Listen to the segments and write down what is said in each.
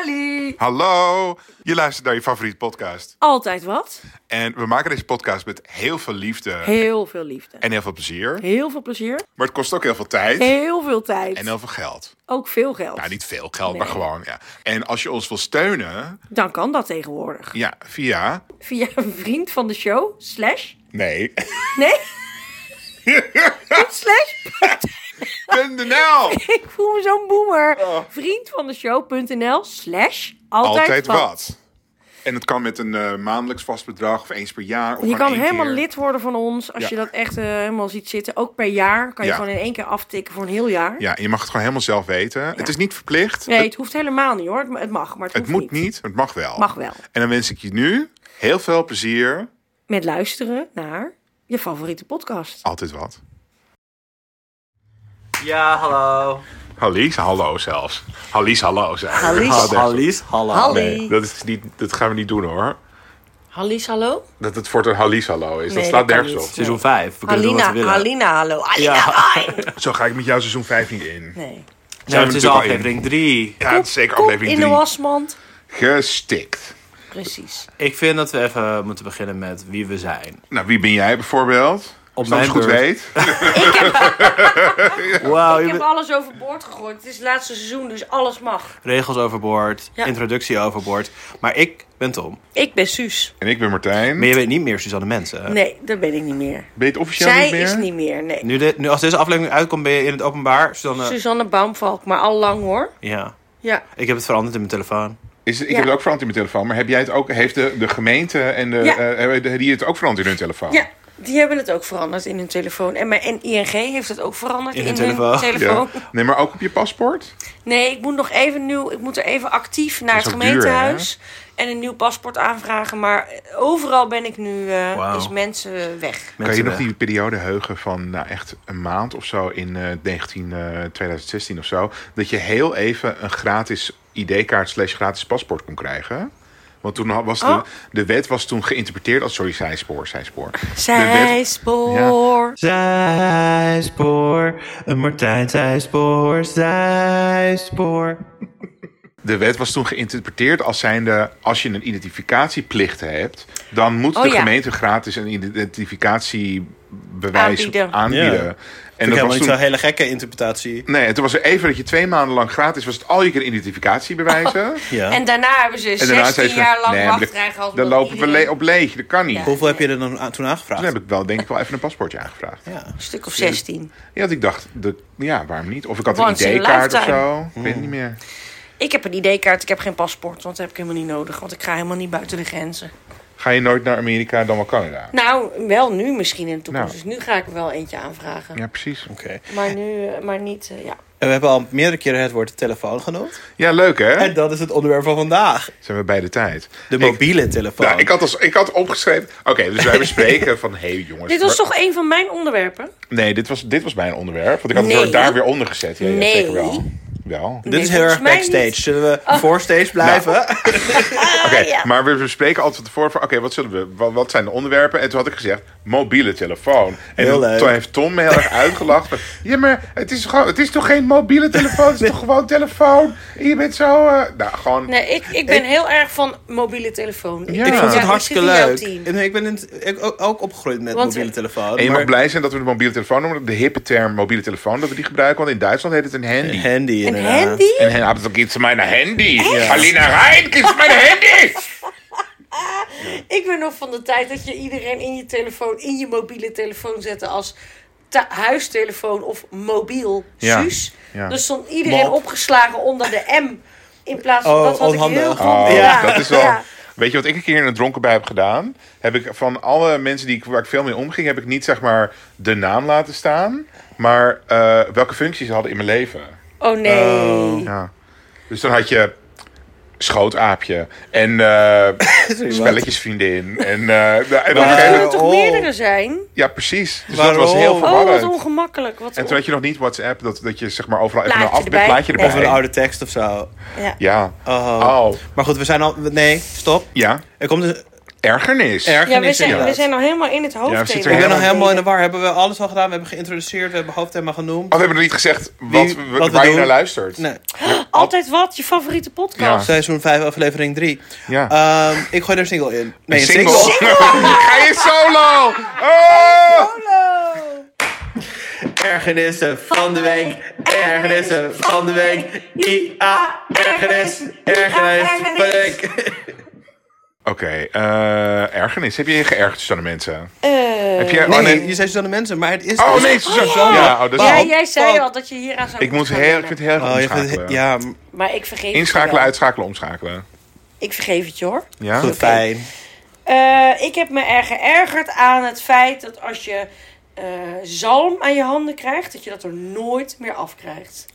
Halli! Hallo, je luistert naar je favoriete podcast. Altijd wat. En we maken deze podcast met heel veel liefde Heel veel liefde. en heel veel plezier. Heel veel plezier. Maar het kost ook heel veel tijd Heel veel tijd. en heel veel geld. Ook veel geld. Nou, niet veel geld, maar Nee. gewoon. Ja. En als je ons wil steunen, Dan kan dat tegenwoordig. ja, via. Via een vriend van de show. Slash. Nee. Nee. Niet slash. .nl. Ik voel me zo'n boomer. Oh. Vriend van de show.nl. Slash. Altijd, Altijd wat. wat. En het kan met een eh, maandelijks vast bedrag of eens per jaar. Of Je gewoon kan één helemaal keer. lid worden van ons. Als Ja. je dat echt eh, helemaal ziet zitten. Ook per jaar. Kan je Ja. gewoon in één keer aftikken voor een heel jaar. Ja, en je mag het gewoon helemaal zelf weten. Het is niet verplicht. Nee, het, het hoeft helemaal niet hoor. Het, het mag, maar het, het hoeft moet niet, maar het mag wel. Mag wel. En dan wens ik je nu heel veel plezier. Met luisteren naar je favoriete podcast. Altijd wat. Ja, hallo. Hallies, hallo zelfs. Hallies, hallo zelfs. Hallies. Dat gaat echt- Hallies, hallo. Hallo. Nee, dat, is niet, dat gaan we niet doen hoor. Hallies, hallo? Dat het voor een Hallies, hallo is. Nee, dat slaat dat kan nergens niet. op. Seizoen 5. We kunnen doen wat Alina, we willen. Alina, hallo. Alina, Ja. hoi! Dus Zo ga ik met jou seizoen 5 niet in. Nee. Nee, Zijn het we is natuurlijk al in. aflevering 3. Ja, het is zeker Kop aflevering in de 3. wasmand. Gestikt. Precies. Oh, Ik vind dat we even moeten beginnen met wie we zijn. Nou, wie ben jij bijvoorbeeld? Als je dat mijn goed beurt. weet. Wauw, je Ik heb bent- alles overboord gegooid. Het is het laatste seizoen, dus alles mag. regels overboord, Ja. introductie overboord. Maar ik ben Tom. Ik ben Suus. En ik ben Martijn. Maar je weet niet meer Suzanne Mensen. Nee, dat ben ik niet meer. Ben je het officieel Zij niet meer? is niet meer, nee. Nu, de, nu als deze aflevering uitkomt ben je in het openbaar. Suzanne... Suzanne Baumvalk, maar al lang hoor. Ja. Ja. Ik heb het veranderd in mijn telefoon. Is, ik Ja. heb het ook veranderd in mijn telefoon. Maar heb jij het ook, heeft de, de gemeente en de, Ja. eh, hebben de- die het ook veranderd in hun telefoon? Oh. Ja, die hebben het ook veranderd in hun telefoon. En, mijn, en ING heeft het ook veranderd in, In hun hun telefoon. telefoon. Ja. Nee, maar ook op je paspoort? Nee, ik moet nog even nieuw. Ik moet er even actief naar Dat het is ook duur, gemeentehuis en een nieuw paspoort aanvragen. Maar overal ben ik nu eh, Wauw. is mensen weg. Mensen kan je nog weg. die periode heugen van nou, echt een maand of zo in eh, 19, eh, 2016 of zo? Dat je heel even een gratis ID-kaart slash gratis paspoort kon krijgen? Want toen had- was de, Oh. de wet was toen geïnterpreteerd als... Sorry, zijspoor, zijspoor. Zijspoor. Zijspoor, een Martijn zijspoor, zijspoor. De wet was toen geïnterpreteerd als zijnde... als je een identificatieplicht hebt... dan moet Oh, de ja. gemeente gratis een identificatiebewijs aanbieden. Aanbieden. Ja. En dat was toen hele gekke interpretatie. Nee, en toen was er even dat je twee maanden lang gratis was. Het al je keer identificatiebewijzen. Ja. En daarna hebben ze En daarna 16 zei ze, jaar lang nee, maar wacht dat- krijgen gehad. Dan omdat lopen we iedereen- le- op leeg. Dat kan niet. Ja. Hoeveel heb je er dan aan- toen aangevraagd? Toen heb ik wel, denk ik, wel even een paspoortje aangevraagd. Ja, Ja. Een stuk of 16. dat ik dacht, de, ja, waarom niet? Of ik had Once in een a ID-kaart of lifetime. zo. Ik weet het niet meer. Ik heb een ID-kaart, ik heb geen paspoort, want dat heb ik helemaal niet nodig. Want ik ga helemaal niet buiten de grenzen. Ga je nooit naar Amerika, dan wel Canada? Nou, wel nu misschien in de toekomst. Nou. Dus nu ga ik er wel eentje aanvragen. Ja, precies. Oké. Maar nu, eh, maar niet, eh, ja. En we hebben al meerdere keren het woord telefoon genoemd. Ja, leuk hè? En dat is het onderwerp van vandaag. Zijn we bij de tijd. De ik, mobiele telefoon. nou, ik, had als, ik had opgeschreven... Oké, dus wij bespreken van... Hé hey, jongens... Dit was waar- toch een van mijn onderwerpen? Nee, dit was, dit was mijn onderwerp. Want ik had het Nee. woord daar weer onder gezet. Ja, ja, Nee. zeker wel. Wel. Dit Nee, is heel volgens erg mij backstage. niet. Oh. Zullen we voorstage blijven? Oké, maar we bespreken altijd van tevoren van... oké, wat zullen we, wat, wat zijn de onderwerpen? En toen had ik gezegd, mobiele telefoon. En Heel toen- leuk. toen heeft Tom me heel erg uitgelacht. van, ja, maar het is, gewoon, het is toch geen mobiele telefoon? Het is toch gewoon telefoon? En je bent zo... eh, nou, gewoon... Nee, ik, ik ben heel erg van mobiele telefoon. Ja. Ik vond Ja, het ik hartstikke zit in jouw leuk. team. En ik ben in het- ik ook, ook opgegroeid met Want- mobiele telefoon. en je maar- mag blij zijn dat we de mobiele telefoon noemen. De hippe term mobiele telefoon, dat we die gebruiken. Want in Duitsland heet het een handy. Handy Een inderdaad. handy? En hij had ook iets mijn handy. Alina Rijn, kies mijn handy. Ik ben nog van de tijd dat je iedereen in je telefoon, in je mobiele telefoon zette als ta- huistelefoon of mobiel Ja, Suus. ja. Dus stond iedereen Mop. opgeslagen onder de M. In plaats van Oh, dat wat onhandig. ik heel goed Oh, gedaan. dat is wel. Ja. Weet je wat ik een keer in een dronken bij heb gedaan? Heb ik van alle mensen die ik, waar ik veel mee omging, heb ik niet zeg maar de naam laten staan, maar eh, welke functies ze hadden in mijn leven. Oh nee. Ja. Dus dan had je schootaapje en eh Sorry, wat? spelletjesvriendin. En, eh, nou, en op Maar- Er een gegeven moment- kunnen toch oh. meerdere zijn? ja, precies. Dus dat Waarom? was heel Oh, Oh, wat verwarrend. ongemakkelijk. Wat en toen had je nog niet WhatsApp, dat, dat je zeg maar overal even Plaatje een af- erbij. plaatje erbij. Of een oude tekst of zo. ja. Ja. Oh. Oh. Maar goed, we zijn al... Nee, stop. Ja. Er komt een... Erg- Ergernis. Ja, we Ergernis, zijn, we inderdaad. zijn al helemaal in het we hoofdthema. zitten Ik ben nog Ja, maar- helemaal in de war. Hebben we alles al gedaan? We hebben geïntroduceerd, we hebben hoofdthema genoemd. Oh, we hebben nog niet gezegd wat, Wie- we- wat we waar je doen. naar luistert. Nee, Altijd wat, je favoriete podcast. seizoen 5, aflevering 3. Ja. Ehm, ik gooi er een single in. Nee, een single. Ga je solo? Oh! Ergernissen van de week. Ergernissen van de week. I-A. Ergernis. Ergernis van de week. Oké, eh, ergernis. Heb je je geërgerd aan de mensen? Eh, Heb je, Nee, oh nee. je zei zo de mensen, maar het is... dus- Oh nee, Suzanne. dus ja. ja, oh, dat is- ja, Waarom? jij zei al dat je hier aan zou Ik, moet moeten gaan heel, ik wennen. vind het heel erg Oh, je vindt- omschakelen. ja, m- Maar ik vergeef het je Inschakelen, wel. uitschakelen, omschakelen. Ik vergeef het je hoor. Ja? goed, fijn. Eh, ik heb me erg geërgerd aan het feit dat als je eh, zalm aan je handen krijgt, dat je dat er nooit meer afkrijgt.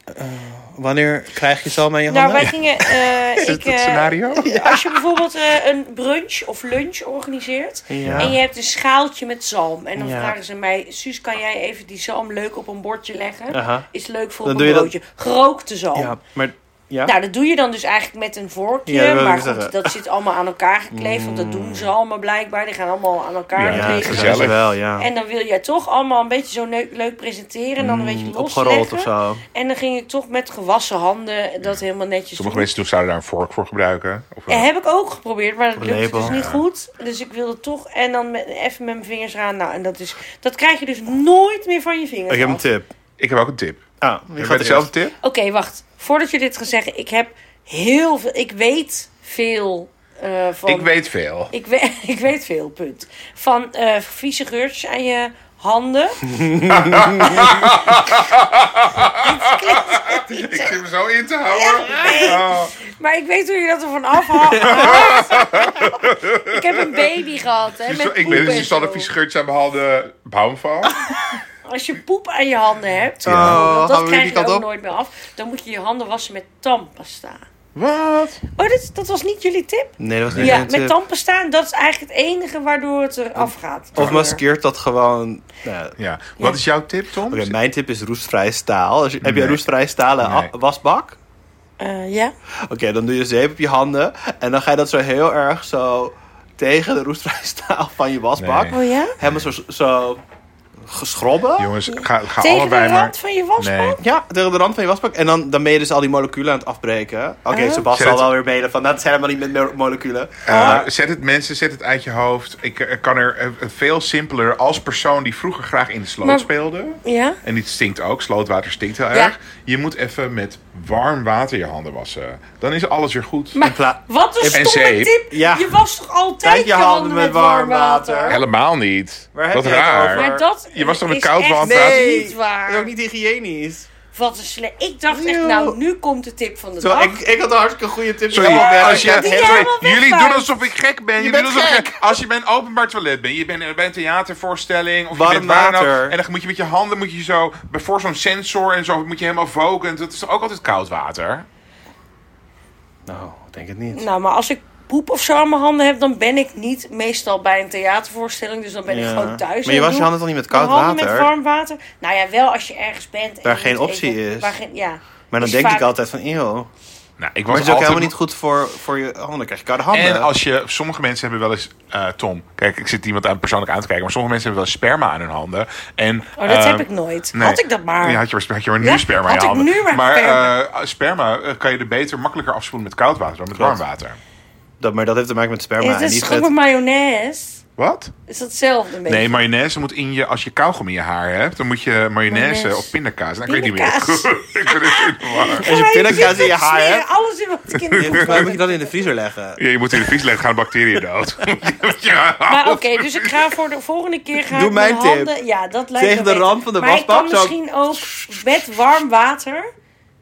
Wanneer krijg je zalm aan je Nou, handen? wij gingen. eh, Is ik, het het eh, scenario? Als je bijvoorbeeld eh, een brunch of lunch organiseert. Ja. En je hebt een schaaltje met zalm. En dan Ja. vragen ze mij: Suus, kan jij even die zalm leuk op een bordje leggen? Aha. Is leuk voor Dan op doe een je dat- broodje. Gerookte zalm. Ja, maar... Ja? Nou, dat doe je dan dus eigenlijk met een vorkje. Ja, dat wil maar ik goed, zeggen. Mm. dat zit allemaal aan elkaar gekleefd. Want dat doen ze allemaal blijkbaar. Die gaan allemaal aan elkaar Ja, ja, kleven. gezellig. gezellig. wel, ja. En dan wil jij toch allemaal een beetje zo leuk, leuk presenteren. En dan een beetje Mm, Opgerold losleggen. of zo. En dan ging ik toch met gewassen handen dat helemaal netjes Sommige doen. mensen toen zouden daar een vork voor gebruiken. Of eh, een- En heb ik ook geprobeerd, maar dat Een lukte lepel. dus niet goed. Dus ik wilde toch en dan met, even met mijn vingers eraan. Nou, en dat, is, dat krijg je dus nooit meer van je vingers Ik heb een af. tip. Ik heb ook een tip. Ah, Heb ik jij ga dezelfde tip? Oké, wacht. Voordat je dit gaat zeggen, ik heb heel veel... Ik weet veel eh, van... Ik weet veel. Ik weet, ik weet veel, punt. Van eh vieze geurtjes aan je handen. Ik zit me zo in te houden. Oh. Maar ik weet hoe je dat ervan afhaalt. ik heb een baby gehad, hè. Dus Met ik poep ben en dus zo. die standaard geurtje aan mijn handen. Bouwen van. Als je poep aan je handen hebt, want Oh, gaan dat we krijg die je kant ook op? nooit meer af. Dan moet je je handen wassen met tandpasta. Wat? Oh, dat, dat was niet jullie tip? Nee, dat was niet ja, mijn met tip. tandpasta. en Dat is eigenlijk het enige waardoor het eraf gaat. Of maskeert dat gewoon... Nou, Oké, Ja. Wat is jouw tip, Tom? mijn tip is roestvrij staal. Als je- Heb je Nee. een roestvrij stalen Nee. a- wasbak? Eh, ja? Oké, dan doe je zeep op je handen. En dan ga je dat zo heel erg zo tegen de roestvrij staal van je wasbak. Nee. Oh ja? Helemaal zo, zo geschrobben. Jongens, ga, Tegen ga de allebei rand maar. van je wasbak? Nee. Ja, tegen de rand van je wasbak. En dan, dan ben je dus al die moleculen aan het afbreken. Oké, Ah. Sebastian Oh. Zet zal het- wel weer mede van, nou, dat zijn helemaal niet met mo- moleculen. Oh. Eh, zet het mensen, zet het uit je hoofd. Ik eh, kan er eh, veel simpeler als persoon die vroeger graag in de sloot Maar- speelde. Ja? En dit stinkt ook. Slootwater stinkt heel Ja. erg. Je moet even met warm water je handen wassen. Dan is alles weer goed. Maar pla- wat een En stomme zeep. tip. Ja. Je was toch altijd Kijk je handen met warm water. Helemaal niet. Waar heb Wat je het raar. over? Maar dat Je was toch met is koud echt water aan het nee. praten? niet Dat is waar. ook niet hygiënisch. Wat een slecht. Ik dacht echt, Eeuw. nou, nu komt de tip van de Terwijl dag. ik, ik had een hartstikke goede tip. Sorry, Helemaal weg. als je, Ja, die sorry, Oh, jij helemaal weg jullie waren. doen alsof ik gek ben. Jullie bent doen alsof ik gek. Als je bij een openbaar toilet bent, je bent bij een theatervoorstelling of Warm je bent waar dan ook, water. en dan moet je met je handen moet je zo bij- voor zo'n sensor en zo moet je helemaal focussen. Dat is toch ook altijd koud water. Nou, ik denk het niet. Nou, maar als ik poep of zo aan mijn handen heb, dan ben ik niet meestal bij een theatervoorstelling. Dus dan ben ik Ja. gewoon thuis. Maar je en was je doe handen toch niet met mijn koud handen water? met warm water? Nou ja, wel als je ergens bent. en Waar je geen moet optie even- is. Waar geen, ja. Maar dan Is denk vaak- ik altijd van, eeuw. Nou, ik was Maar het is altijd- ook helemaal niet goed eh. voor, voor je handen. Dan krijg je koude handen. En als je, sommige mensen hebben wel eens, eh, Tom, kijk, ik zit iemand aan persoonlijk aan te kijken, maar sommige mensen hebben wel eens sperma aan hun handen. En, Oh, dat eh, heb ik nooit. nee. Had ik dat maar. Ja, had je maar, had je maar nu Ja, sperma had aan je ik handen. nu maar maar sperma. eh, sperma eh, kan je er beter, makkelijker afspoelen met koud water dan met warm Klopt. water. Dat, maar dat heeft te maken met sperma. Het en is niet toch ook met... met mayonaise? Wat? Is dat hetzelfde een beetje? Nee, mayonaise moet in je, als je kauwgom in je haar hebt, dan moet je mayonaise Mayonaise. of pindakaas. Nou, ik weet niet Pindakaas. meer. ik ben het in de war. Als je Maar pindakaas in je haar smeren hebt- alles in wat ik in Ja, Volgens de mij moet je dat in de vriezer leggen. Ja, je moet in de vries leggen, gaan de bacteriën dood. ja. Maar oké, dus ik ga voor de volgende keer gaan. Doe mijn tip. handen. Ja, dat lijkt Tegen me de beter. rand van de maar ik wasbak kan zou ik- misschien ook met warm water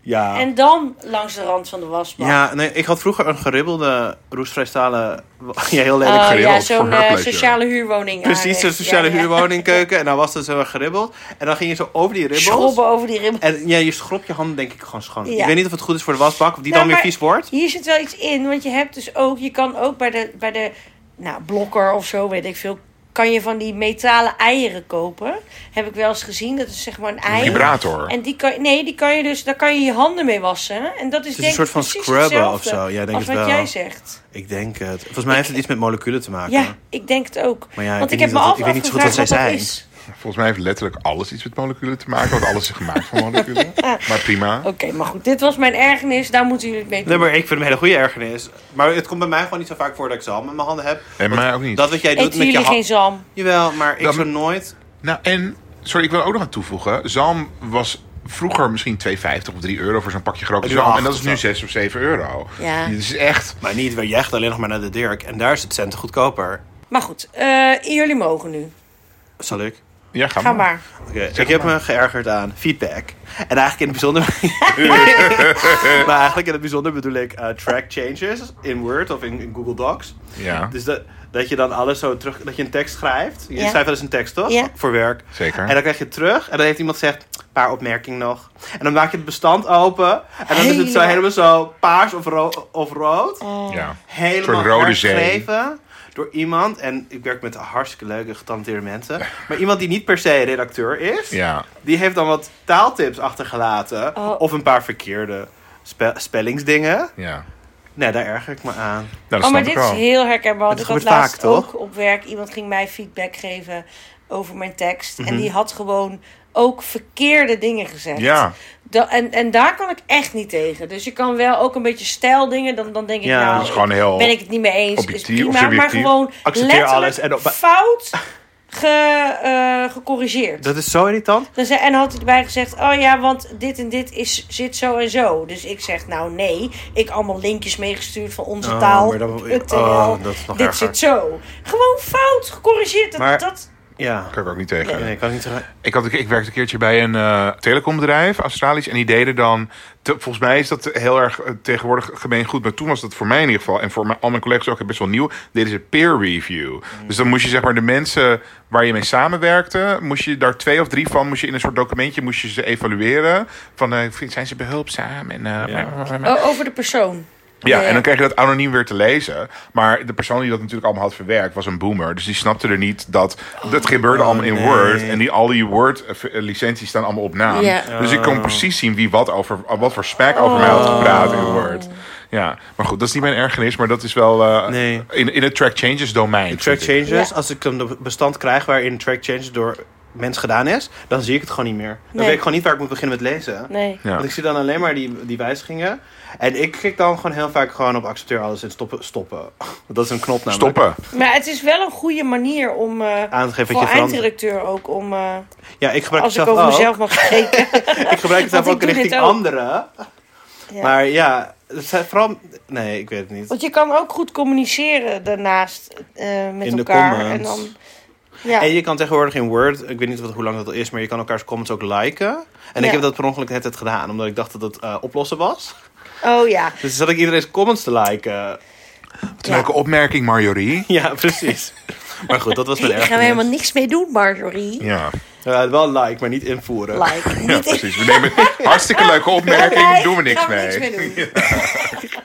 Ja. en dan langs de rand van de wasbak. Ja, nee, ik had vroeger een geribbelde roestvrijstalen... Ja, heel lelijk. Oh, geribbeld ja, voor zo'n haar eh, pleasure. sociale huurwoning. Precies, zo'n een sociale huurwoningkeuken. En dan was het zo erg geribbeld. En dan ging je zo over die ribbels. Schrobben over die ribbel. En ja, je schropt je handen denk ik gewoon schoon. Ja. Ik weet niet of het goed is voor de wasbak, of die Nou, dan weer maar vies wordt. Hier zit wel iets in, want je hebt dus ook, je kan ook bij de, bij de nou, blokker of zo, weet ik veel, kan je van die metalen eieren kopen. Heb ik wel eens gezien. Dat is zeg maar een ei. Vibrator. En die kan, nee, die kan je dus, daar kan je je handen mee wassen. En dat is, een denk soort ik van precies scrubber hetzelfde of zo. Ja, ik denk als het wat wel. jij zegt. Ik denk het. Volgens mij heeft het iets met moleculen te maken. Ja, ik denk het ook. Maar ja, ik Want ik, heb weet niet me wat- altijd ik weet niet zo goed afgevraagd wat zij dat zijn. is. Volgens mij heeft letterlijk alles iets met moleculen te maken. Want alles is gemaakt van moleculen. Maar prima. Oké, maar goed. Dit was mijn ergernis. Daar moeten jullie het mee doen. Nee, maar ik vind hem een hele goede ergernis. Maar het komt bij mij gewoon niet zo vaak voor dat ik zalm in mijn handen heb. En Want mij ook niet. Dat wat jij doet Eten met je jullie geen handen. zalm? Jawel, maar ik Dan- zo nooit. Nou, en, sorry, ik wil er ook nog aan toevoegen. Zalm was vroeger misschien 2,50 of 3 euro voor zo'n pakje gerookte En nu zalm. En acht dat is of nu zo. 6 of 7 euro. Ja. Dit is echt... Maar niet, waar jij gaat alleen nog maar naar de Dirk. En daar is het centen goedkoper. Maar goed, eh, jullie mogen nu. Zal ik? Ja, ga, Ga maar. maar. Oké, ik heb me geërgerd aan feedback. En eigenlijk in het bijzonder. maar eigenlijk in het bijzonder bedoel ik eh, track changes in Word of in, in Google Docs. Ja. Dus dat, dat je dan alles zo terug. Dat je een tekst schrijft. Je Ja. schrijft wel eens een tekst, toch? Ja. Voor werk. Zeker. En dan krijg je het terug. En dan heeft iemand gezegd. "Tsk, Paar opmerking nog. En dan maak je het bestand open. En dan is het zo Helemaal- helemaal zo paars of, ro- of rood Eh. Ja. helemaal Een soort rode zee. geschreven door iemand. En ik werk met hartstikke leuke, getalenteerde mensen. Maar iemand die niet per se redacteur is, Ja. die heeft dan wat taaltips achtergelaten. Oh. Of een paar verkeerde spe- spellingsdingen. Ja. Nee, daar erger ik me aan. Nou, dat Oh, maar snap dit ik is wel. heel herkenbaar. Want Dit ik had gebeurt laatst vaak, toch? ook op werk. Iemand ging mij feedback geven over mijn tekst. En die had gewoon ook verkeerde dingen gezegd. Ja. Da- en, en daar kan ik echt niet tegen. Dus je kan wel ook een beetje stijldingen. Dan, dan denk ik, Ja, nou, dat is gewoon heel ben ik het niet mee eens. Is objectief of prima, maar subjectief. gewoon Accepteer letterlijk alles en op- fout ge, eh, gecorrigeerd. Dat is zo irritant. Dan zei, en had hij erbij gezegd: Oh ja, want dit en dit is, zit zo en zo. Dus ik zeg: Nou nee, ik allemaal linkjes meegestuurd van onze Oh, taal. maar dan- .nl. oh, dat is nog dit erger. zit zo. Gewoon fout, gecorrigeerd. Dat, Maar- dat, Ja. Daar kan ik ook niet tegen. Nee, ik kan niet zeggen. Ik, had, ik werkte een keertje bij een eh, telecombedrijf, Australisch. En die deden dan... te- volgens mij is dat heel erg eh, tegenwoordig gemeen goed. Maar toen was dat voor mij in ieder geval... en voor mijn, al mijn collega's ook best wel nieuw... deden ze peer review. Dus dan moest je zeg maar de mensen waar je mee samenwerkte... moest je daar twee of drie van... moest je in een soort documentje moest je ze evalueren. Van eh, vind- zijn ze behulpzaam? En, eh, Oh, over de persoon. Ja, Ja. en dan kreeg je dat anoniem weer te lezen. Maar de persoon die dat natuurlijk allemaal had verwerkt was een boomer. Dus die snapte er niet dat. Dat gebeurde allemaal in nee. Word. eh, En die, al die Word-licenties staan allemaal op naam. Ja. Dus ik kon precies zien wie wat over. eh, wat voor spek over mij had gepraat in Word. Ja, maar goed, dat is niet mijn ergernis. Maar dat is wel. eh, Nee. in, in het track changes domein. Track vind ik. changes, Ja. als ik een bestand krijg waarin track changes door mens gedaan is, dan zie ik het gewoon niet meer. Dan Nee. weet ik gewoon niet waar ik moet beginnen met lezen. Nee. Ja. Want ik zie dan alleen maar die, die wijzigingen. En ik klik dan gewoon heel vaak gewoon op accepteer alles en stoppen. stoppen. Want dat is een knop namelijk. Stoppen. Maar het is wel een goede manier om. eh Aan te geven voor wat je verandert. eindredacteur ook om. eh, Ja, ik gebruik als ik het over zelf ook. mezelf mag spreken. Ik gebruik het Want zelf ik ook doe dit richting ook. anderen. Ja. Maar ja, het zijn vooral... Nee, ik weet het niet. Want je kan ook goed communiceren daarnaast eh, met In de elkaar. en comments. dan. Ja. En je kan tegenwoordig in Word, ik weet niet wat, hoe lang dat al is, maar je kan elkaars comments ook liken. En Ja. ik heb dat per ongeluk net het gedaan, omdat ik dacht dat het eh, oplossen was. Oh ja. Dus zat ik iedereen's comments te liken. Wat een Leuke opmerking, Marjorie. Ja, precies. maar goed, dat was mijn Daar ergernis. gaan we helemaal niks mee doen, Marjorie. Ja, Ja, wel like, maar niet invoeren. Like. ja Niet precies. We nemen hartstikke leuke opmerking. Nee, doen we niks gaan mee. doen.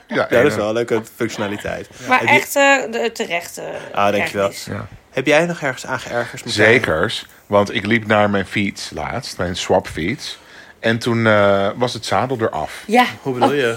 Ja, Ja, dat is en, eh, wel een leuke functionaliteit. Maar Heb je- echt eh, de- terecht. eh, Ah, dankjewel. ergernis. ja. Heb jij nog ergens aan geërgerd? Martijn? Zekers, want ik liep naar mijn fiets laatst, mijn swapfiets. En toen eh, was het zadel eraf. Ja. Hoe bedoel je?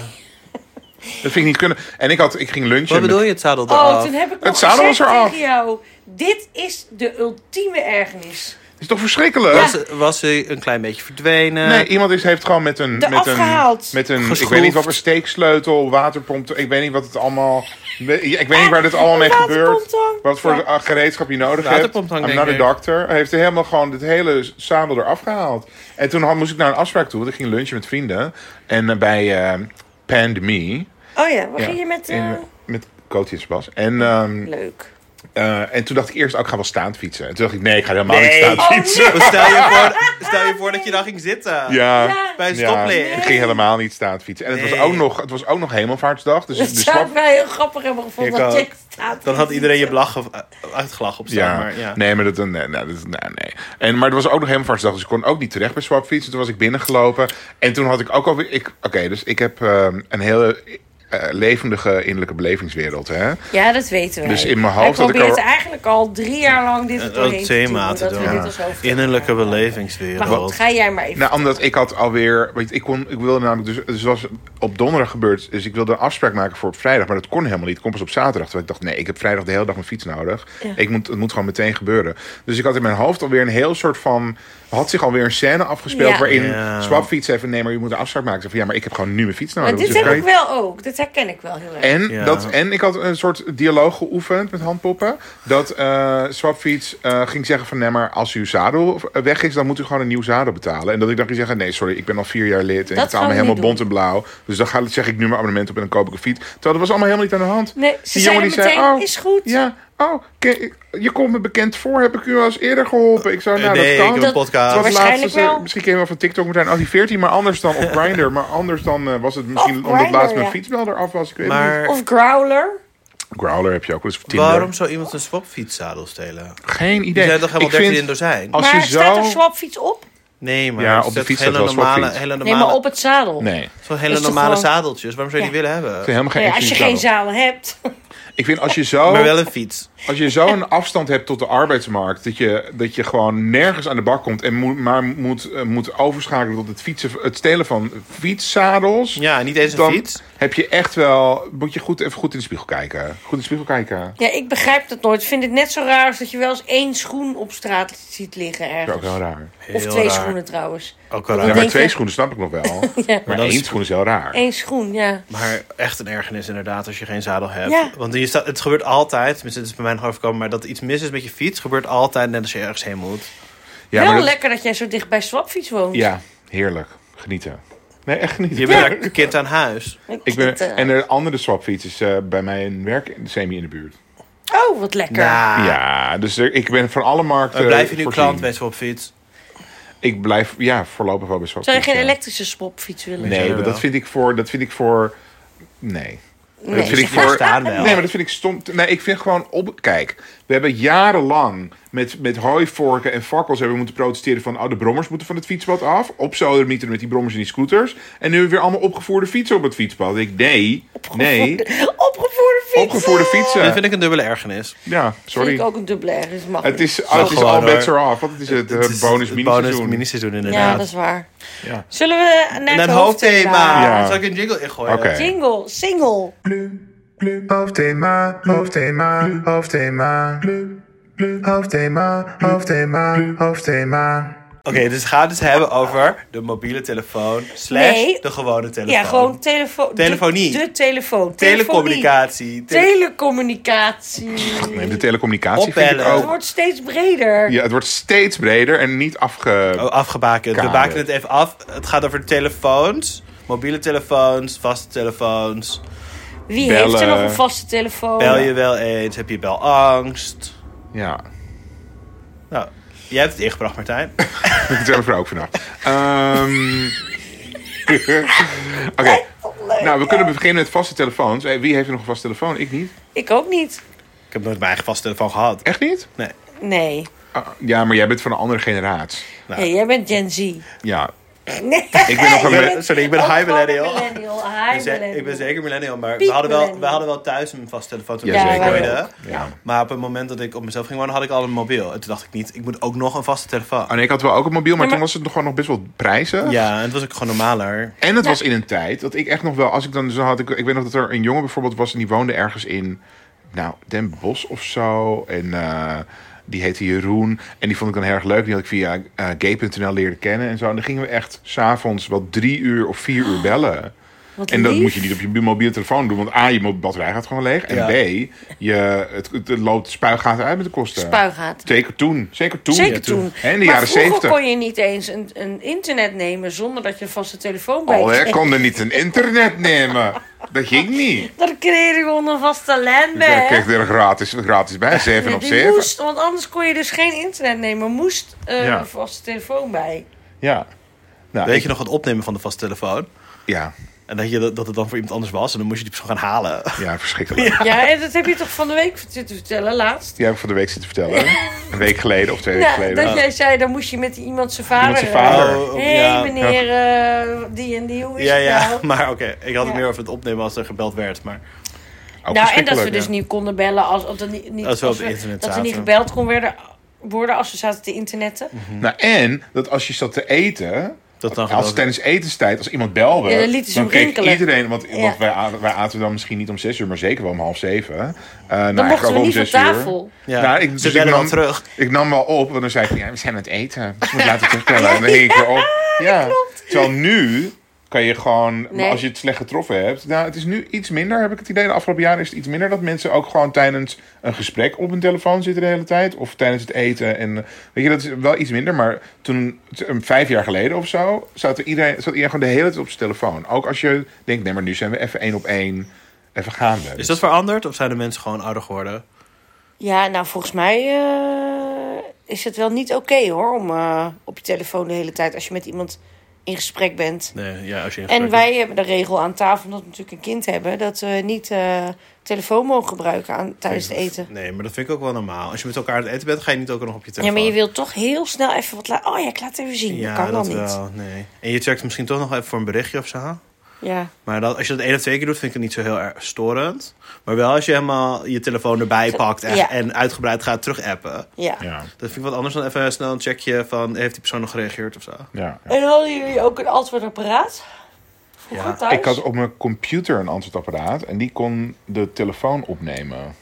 Dat vind ik niet kunnen. En ik, had, ik ging lunchen. Wat met- bedoel je het zadel eraf? Oh, toen heb ik Het nog zadel gezegd was eraf. tegen jou. Dit is de ultieme ergernis. Het is toch verschrikkelijk? was, was hij een klein beetje verdwenen? Nee, iemand is, heeft gewoon met een... Eraf Met een, gehaald. met een ik Geschroefd. weet niet wat voor steeksleutel, waterpomp. Ik weet niet wat het allemaal... Ik weet niet waar dit allemaal mee Een gebeurt. waterpomptank. Wat voor Ja. eh, gereedschap je nodig Een hebt. waterpomptank, I'm denk not a ik. doctor. Hij heeft helemaal gewoon het hele zadel eraf gehaald. En toen had, moest ik naar een afspraak toe. want Ik ging lunchen met vrienden. En eh, bij eh Pandemie... Oh ja, waar Ja, ging je met... eh, in- met Coty en Sebas. En, ehm, Leuk. eh, en toen dacht ik eerst, ook ik ga wel staand fietsen. En toen dacht ik, nee, ik ga helemaal niet Nee. staand Oh, fietsen. nee. Stel, je voor, stel je voor dat je daar ging zitten. Ja, Ja. Bij een ja stoplicht. ik ging helemaal niet staand fietsen. En het, Nee. was ook nog, het was ook nog hemelvaartsdag. Dus Dat de zou swap... ik wel heel grappig hebben gevonden. Ik dat ook. je staat Dan had te iedereen je fietsen. blach of, eh, uitgelachen op staan. Ja. Maar, ja. nee, maar dat, eh, nee, nee, dat, nee, nee. En, maar het was ook nog hemelvaartsdag, dus ik kon ook niet terecht bij swapfietsen. Toen was ik binnengelopen en toen had ik ook alweer... ik- Oké, dus ik heb ehm, een hele eh, levendige innerlijke belevingswereld. Hè? Ja, dat weten we. Dus in mijn hoofd Hij had ik probeert al- eigenlijk al drie jaar lang dit er doorheen Een thema te dat we dit doen. als hoofdthema Innerlijke hebben. Maar belevingswereld. goed, ga jij maar even. Nou, omdat ik had alweer. Weet je, ik, kon, ik wilde namelijk. Dus, dus was op donderdag gebeurd. Dus ik wilde een afspraak maken voor op vrijdag. Maar dat kon helemaal niet. Het kon pas op zaterdag. Terwijl ik dacht, nee, ik heb vrijdag de hele dag mijn fiets nodig. Ja. Ik moet, het moet gewoon meteen gebeuren. Dus ik had in mijn hoofd alweer een heel soort van. Had zich alweer een scène afgespeeld. Ja. waarin Ja. Swap fiets even. Nee, maar je moet een afspraak maken. Ik zei van, ja, maar ik heb gewoon nu mijn fiets nodig. maar dit Dus heb kan ik je- wel ook. Dit herken ik wel heel erg. en, Ja. dat, en ik had een soort dialoog geoefend met handpoppen. Dat eh Swapfiets eh, ging zeggen van... nee, maar als uw zadel weg is, dan moet u gewoon een nieuw zadel betalen. En dat ik dan ging zeggen... nee, sorry, ik ben al vier jaar lid en Dat ik betaal gaan me we helemaal niet doen. bont en blauw. Dus dan ga, zeg ik nu mijn abonnement op en dan koop ik een fiets. Terwijl dat was allemaal helemaal niet aan de hand. Nee, ze Die zeiden jongen die zei, meteen, oh, is goed. Ja, oh, ke- je komt me bekend voor. Heb ik u al eens eerder geholpen? Ik zou, nou, nee, dat ik kan. heb Dat- een podcast. Het was Waarschijnlijk laatst, dus, eh, wel. misschien ken je wel van TikTok moeten zijn. Oh, die 14, maar anders dan op Grindr. Maar anders dan eh, was het misschien Op omdat Grindr, laatst mijn ja. fietsbel eraf was. Ik weet het niet. Maar Of Growler. Growler heb je ook wel eens. of Tinder. waarom zou iemand een swapfietszadel stelen? Geen Die idee. zijn toch helemaal Ik 13 vind- in dozijn? als maar je staat zo- er swapfiets op? Nee, maar Ja, het op de zet fiets hele staat wel normale, swapfiets. hele Nee, normale, maar op het zadel. Nee. Het zo'n hele Is toch normale gewoon- zadeltjes. Waarom zou je die willen hebben? zijn helemaal geen Nee, als je enkele geen zadel. zadel hebt. Ik vind als je zo, Maar wel een fiets. als je zo een afstand hebt tot de arbeidsmarkt, dat je, dat je gewoon nergens aan de bak komt en moet, maar moet, eh, moet overschakelen tot het, fietsen, het stelen van fietszadels. Ja, niet eens een Dan fiets. heb je echt wel, moet je goed, even goed in de spiegel kijken. Goed in de spiegel kijken. Ja, ik begrijp dat nooit. Ik vind het net zo raar als dat je wel eens één schoen op straat ziet liggen Dat is ook ergens. heel raar. Of Heel twee raar. schoenen trouwens. Ook wel Ja, Ja, raar. maar denk twee je- schoenen snap ik nog wel. Ja, Maar dat één is- schoen is heel raar. één schoen, ja. Maar echt een ergernis inderdaad als je geen zadel hebt. Ja. Want je staat, het gebeurt altijd, tenminste het is bij mij nog overkomen... maar dat iets mis is met je fiets gebeurt altijd net als je ergens heen moet. Ja, wel maar dat- lekker dat jij zo dicht bij Swapfiets woont. ja, heerlijk. Genieten. Nee, echt genieten. Je bent daar kind aan huis. Ik ben, vind, eh, en de andere swapfiets is eh, bij mijn werk semi in de buurt. Oh, wat lekker. Nou, Ja, dus er- ik ben van alle markten. maar blijf je nu voorzien. klant bij op fiets? Ik blijf ja, voorlopig wel bij Zou je swapfiets. geen ja. elektrische swapfiets willen? eh, Nee, Zou want wel. dat vind ik voor. Dat vind ik voor. Nee. Dat vind ik Die voor. staan wel. Nee, maar dat vind ik stom. Nee, ik vind gewoon op. Kijk, we hebben jarenlang met, met hooivorken en fakkels hebben we moeten protesteren van. Oh, de brommers moeten van het fietspad af. Op zoldermieten met die brommers en die scooters. En nu hebben we weer allemaal opgevoerde fietsen op het fietspad. Ik, nee, nee. Opgevoerde fietsen. Opgevoerde Dat fietsen. vind ik een dubbele ergernis. Ja, Vind ik sorry. ook een dubbele ergens. Mag Het niet. is, het is gewoon, all hoor. bets are off. Want het is het, eh, bonus het mini-seizoen. miniseizoen, Ja, inderdaad. dat is waar. Ja. Zullen we naar En het een hoofdthema. Ja. Zal ik een jingle ingooien? Oké. Jingle, single. Hoofdthema, hoofdthema, hoofdthema. Hoofdthema, hoofdthema, hoofdthema. Oké, dus we gaan het dus hebben over de mobiele telefoon slash Nee. de gewone telefoon. Ja, gewoon telefoon. Telefonie. De, de telefoon. telecommunicatie. Tele- Telecommunicatie. Nee, de telecommunicatie vind ik Opbellen. Het ook. wordt steeds breder. Ja, het wordt steeds breder en niet afge... Oh, afgebakend. We Kabel. baken het even af. Het gaat over telefoons, mobiele telefoons, vaste telefoons. Wie heeft er Bellen. nog een vaste telefoon? Bel je wel eens? Heb je belangst? Ja, Nou, jij hebt het ingebracht, Martijn. ik vertel het voor ook vannacht. Ehm, Oké, Oh, nou we kunnen beginnen met vaste telefoons. Hey, wie heeft er nog een vaste telefoon? Ik niet. Ik ook niet. Ik heb nooit mijn eigen vaste telefoon gehad. Echt niet? Nee. Nee. Ah, ja, maar jij bent van een andere generatie. Hey, jij bent Gen Z. Nee. Ja, Ik ben nog een ben- Eh, sorry, ik ben high millennial. High Ik ben, millennial. ik ben zeker millennial, maar Piek we hadden, wel, we millennial. hadden wel thuis een vaste telefoon toen Ja, ik zeker. gooide. Ja, ja. Maar op het moment dat ik op mezelf ging wonen, had ik al een mobiel. En toen dacht ik niet, ik moet ook nog een vaste telefoon. Oh, nee, ik had wel ook een mobiel, maar, maar- toen was het nog gewoon nog best wel prijzen. Ja, en het was ook gewoon normaler. En het was in een tijd dat ik echt nog wel, als ik dan zo had, ik, ik weet nog dat er een jongen bijvoorbeeld was en die woonde ergens in, nou, Den Bosch of zo. En eh, die heette Jeroen. En die vond ik dan heel erg leuk. Die had ik via eh, gay.nl leren kennen en zo. En dan gingen we echt s'avonds wel drie uur of vier uur bellen. Wat En dat lief. moet je niet op je mobiele telefoon doen, want A, je mo- batterij gaat gewoon leeg. En Ja. B, je, het, het loopt spuigaten uit met de kosten. Spuigaten. Zeker toen. Zeker toen. Zeker toen. En in de maar jaren vroeger zeventig. kon je niet eens een, een internet nemen zonder dat je een vaste telefoon bij Oh, je ik kreeg. kon er niet een internet nemen. Dat ging niet. Dat kreeg je gewoon een vaste LAN Ik bij. kreeg er gratis, gratis bij, 7 op Die 7. moest, want anders kon je dus geen internet nemen. Moest eh, Ja. een vaste telefoon bij. Ja. Nou, Weet ik- je nog het opnemen van de vaste telefoon? ja. En dat, je, dat dat het dan voor iemand anders was. En dan moest je die persoon gaan halen. Ja, verschrikkelijk. Ja. Ja, en dat heb je toch van de week zitten vertellen, laatst? Die heb ik van de week zitten vertellen. Een week geleden of twee weken Ja, geleden. dat jij zei, dan moest je met iemand zijn vader... Iemand zijn vader. eh, Oh, oh, Hé ja. meneer, eh, die en die, hoe is Ja, het ja. nou? Maar oké, ik had het Ja. meer over het opnemen als er gebeld werd. Maar Ook nou, en verschrikkelijk, dat we dus ja. niet konden bellen als, als, er niet, niet- Als we op het we- internet Dat er niet zaten. gebeld kon worden, worden als we zaten te internetten. Nou, en dat als je zat te eten. Dat dan als gebeld tijdens etenstijd, als iemand belde, Ja, dan lieten ze hem keek rinkelen. iedereen, want, Ja. want wij, a- wij aten dan misschien niet om zes uur, maar zeker wel om half zeven. Eh, nou, Dan eigenlijk mochten ook we om niet van zes uur. tafel. ja, Nou, ik- dus ze ik bellen ben dan dan- terug. Ik nam wel op, want dan zei ik, ja, we zijn aan het eten. Dus ik moet laten terugtellen. En dan hing ik weer op. Ja, Terwijl nu kan je gewoon, maar Nee. als je het slecht getroffen hebt. Nou, het is nu iets minder, heb ik het idee. De afgelopen jaren is het iets minder dat mensen ook gewoon tijdens een gesprek op hun telefoon zitten de hele tijd. Of tijdens het eten. En eh, weet je, dat is wel iets minder. Maar toen, t- een vijf jaar geleden of zo, zat iedereen, zat iedereen gewoon de hele tijd op zijn telefoon. Ook als je denkt, nee, maar nu zijn we even één op één. Even gaande. Is dat veranderd of zijn de mensen gewoon ouder geworden? Ja, nou volgens mij eh, is het wel niet oké hoor, om eh, op je telefoon de hele tijd als je met iemand in gesprek bent. Nee, ja, als je in En gesprek wij hebben de regel aan tafel, omdat we natuurlijk een kind hebben, dat we niet eh, telefoon mogen gebruiken aan, tijdens het eten. bent. Nee, maar dat vind ik ook wel normaal. Als je met elkaar aan het eten bent, ga je niet ook nog op je Ja, telefoon. maar je wilt toch heel snel even wat laten. Oh ja, ik laat het even zien. Ja, dat kan dat dan niet. wel. Nee. En je checkt misschien toch nog even voor een berichtje of zo. Ja. Maar dat, als je dat één of twee keer doet, vind ik het niet zo heel erg storend. Maar wel als je helemaal je telefoon erbij pakt en, ja. en uitgebreid gaat terugappen. Ja. Dus, Ja, Dat vind ik wat anders dan even snel een checkje van... heeft die persoon nog gereageerd of zo? ja. ja. En hadden jullie ook een antwoordapparaat? Vroeger Ja, thuis? Ik had op mijn computer een antwoordapparaat en die kon de telefoon opnemen.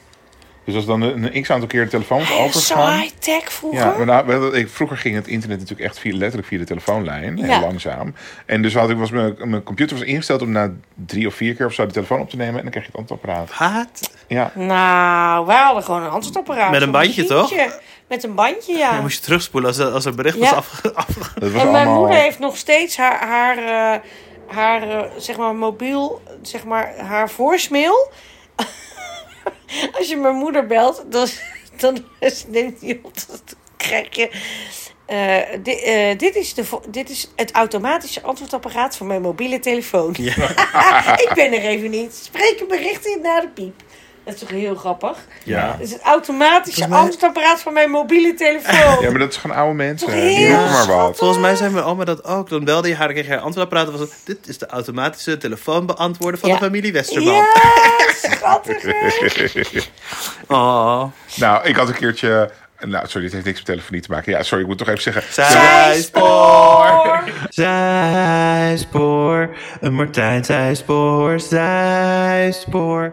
Dus als dan een een x aantal keer de telefoon was Hij was zo overgegaan. high-tech vroeger. Ja, maar nou, wel, ik, vroeger ging het internet natuurlijk echt via, letterlijk via de telefoonlijn. Heel Ja. langzaam. En dus had ik, was mijn, mijn computer was ingesteld om na drie of vier keer of zo de telefoon op te nemen. En dan kreeg je het antwoordapparaat. Haat. Ja, Nou, wij hadden gewoon een antwoordapparaat. Met een zo'n bandje, toch? muziekje. Met een bandje, ja. Dan moest je terugspoelen als, als er bericht Ja. was afge... afge- dat was En mijn allemaal... moeder heeft nog steeds haar, haar, eh, haar eh, zeg maar, mobiel, zeg maar, haar voicemail. Als je mijn moeder belt, dan, dan is- neemt hij op. Dan krijg je... eh, di- eh, dit, is de vo- dit is het automatische antwoordapparaat van mijn mobiele telefoon. ik ben er even niet. Spreek een bericht in naar de piep. Dat is toch heel grappig? Ja. Het is het automatische Volgens mij- antwoordapparaat van mijn mobiele telefoon. ja, maar dat is gewoon oude mensen. Toch Die heel roepen maar wat. Volgens mij zei mijn oma dat ook. Dan belde je haar, dan kreeg je haar antwoord praten. Was het, dit is de automatische telefoonbeantwoorder van Ja. de familie Westerman. Ja, schattig. hè? Oh. Nou, ik had een keertje... Nou, sorry, dit heeft niks met telefonie te maken. Ja, sorry, ik moet toch even zeggen... Zijspoor. Zijspoor. Een Martijn Zijspoor. Zijspoor.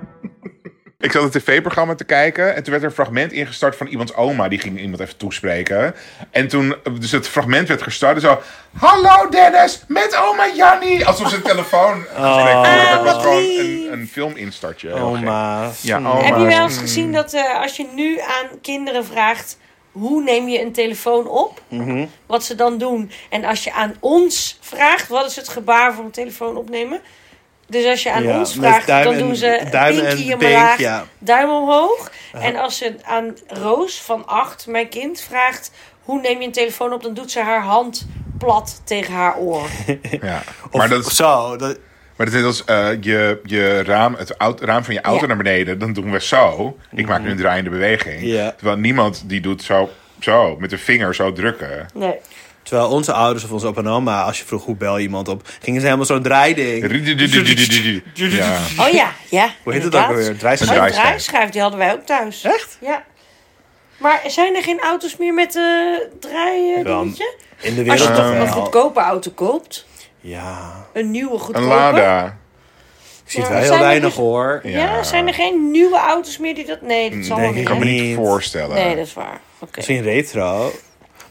Ik zat een tv-programma te kijken en toen werd er een fragment ingestart van iemands oma. Die ging iemand even toespreken. En toen, dus het fragment werd gestart en zo... Hallo Dennis, met oma Janni! Alsof ze een telefoon gesprek voerde. Dat was wat gewoon lief. een, een filminstartje. Oh, Heel gek. Oma. Ja, oma. Heb je wel eens gezien dat eh, als je nu aan kinderen vraagt... hoe neem je een telefoon op? Mhm. Wat ze dan doen. En als je aan ons vraagt... wat is het gebaar voor een telefoon opnemen? Dus als je aan Ja, ons met vraagt, duim dan en- doen ze duim en pinkie pink, omlaag, ja. duim omhoog. En als ze aan Roos van 8, mijn kind, vraagt... hoe neem je een telefoon op? Dan doet ze haar hand plat tegen haar oor. Ja. Of, Maar of dat, zo. Dat, maar dat is als eh, je, je raam, het auto, raam van je auto Ja. naar beneden. Dan doen we zo. Ik maak nu een draaiende beweging. Ja. Terwijl niemand die doet zo, zo, met de vinger zo drukken. Nee. terwijl onze ouders of onze opa en oma, als je vroeg hoe bel je iemand op, gingen ze helemaal zo'n draaiding. Ja. Oh ja, ja. Hoe heet het ook inderdaad. alweer? Een draaischijf? Oh, Een een draaischijf. draaischijf, die hadden wij ook thuis. Echt? Ja. Maar zijn er geen auto's meer met eh draaien Dan- dingetje? In de Als je wereld toch een nog wel. goedkope auto koopt, Ja. een nieuwe Een goedkope. Lada. Ik zie het Ja, wel heel zijn er weinig dus- hoor. Ja. zijn er geen nieuwe auto's meer die dat... Nee, dat zal Mm, wel Nee, ik niet. kan me hè? niet Niet. voorstellen. Nee, dat is waar. Oké. Misschien retro.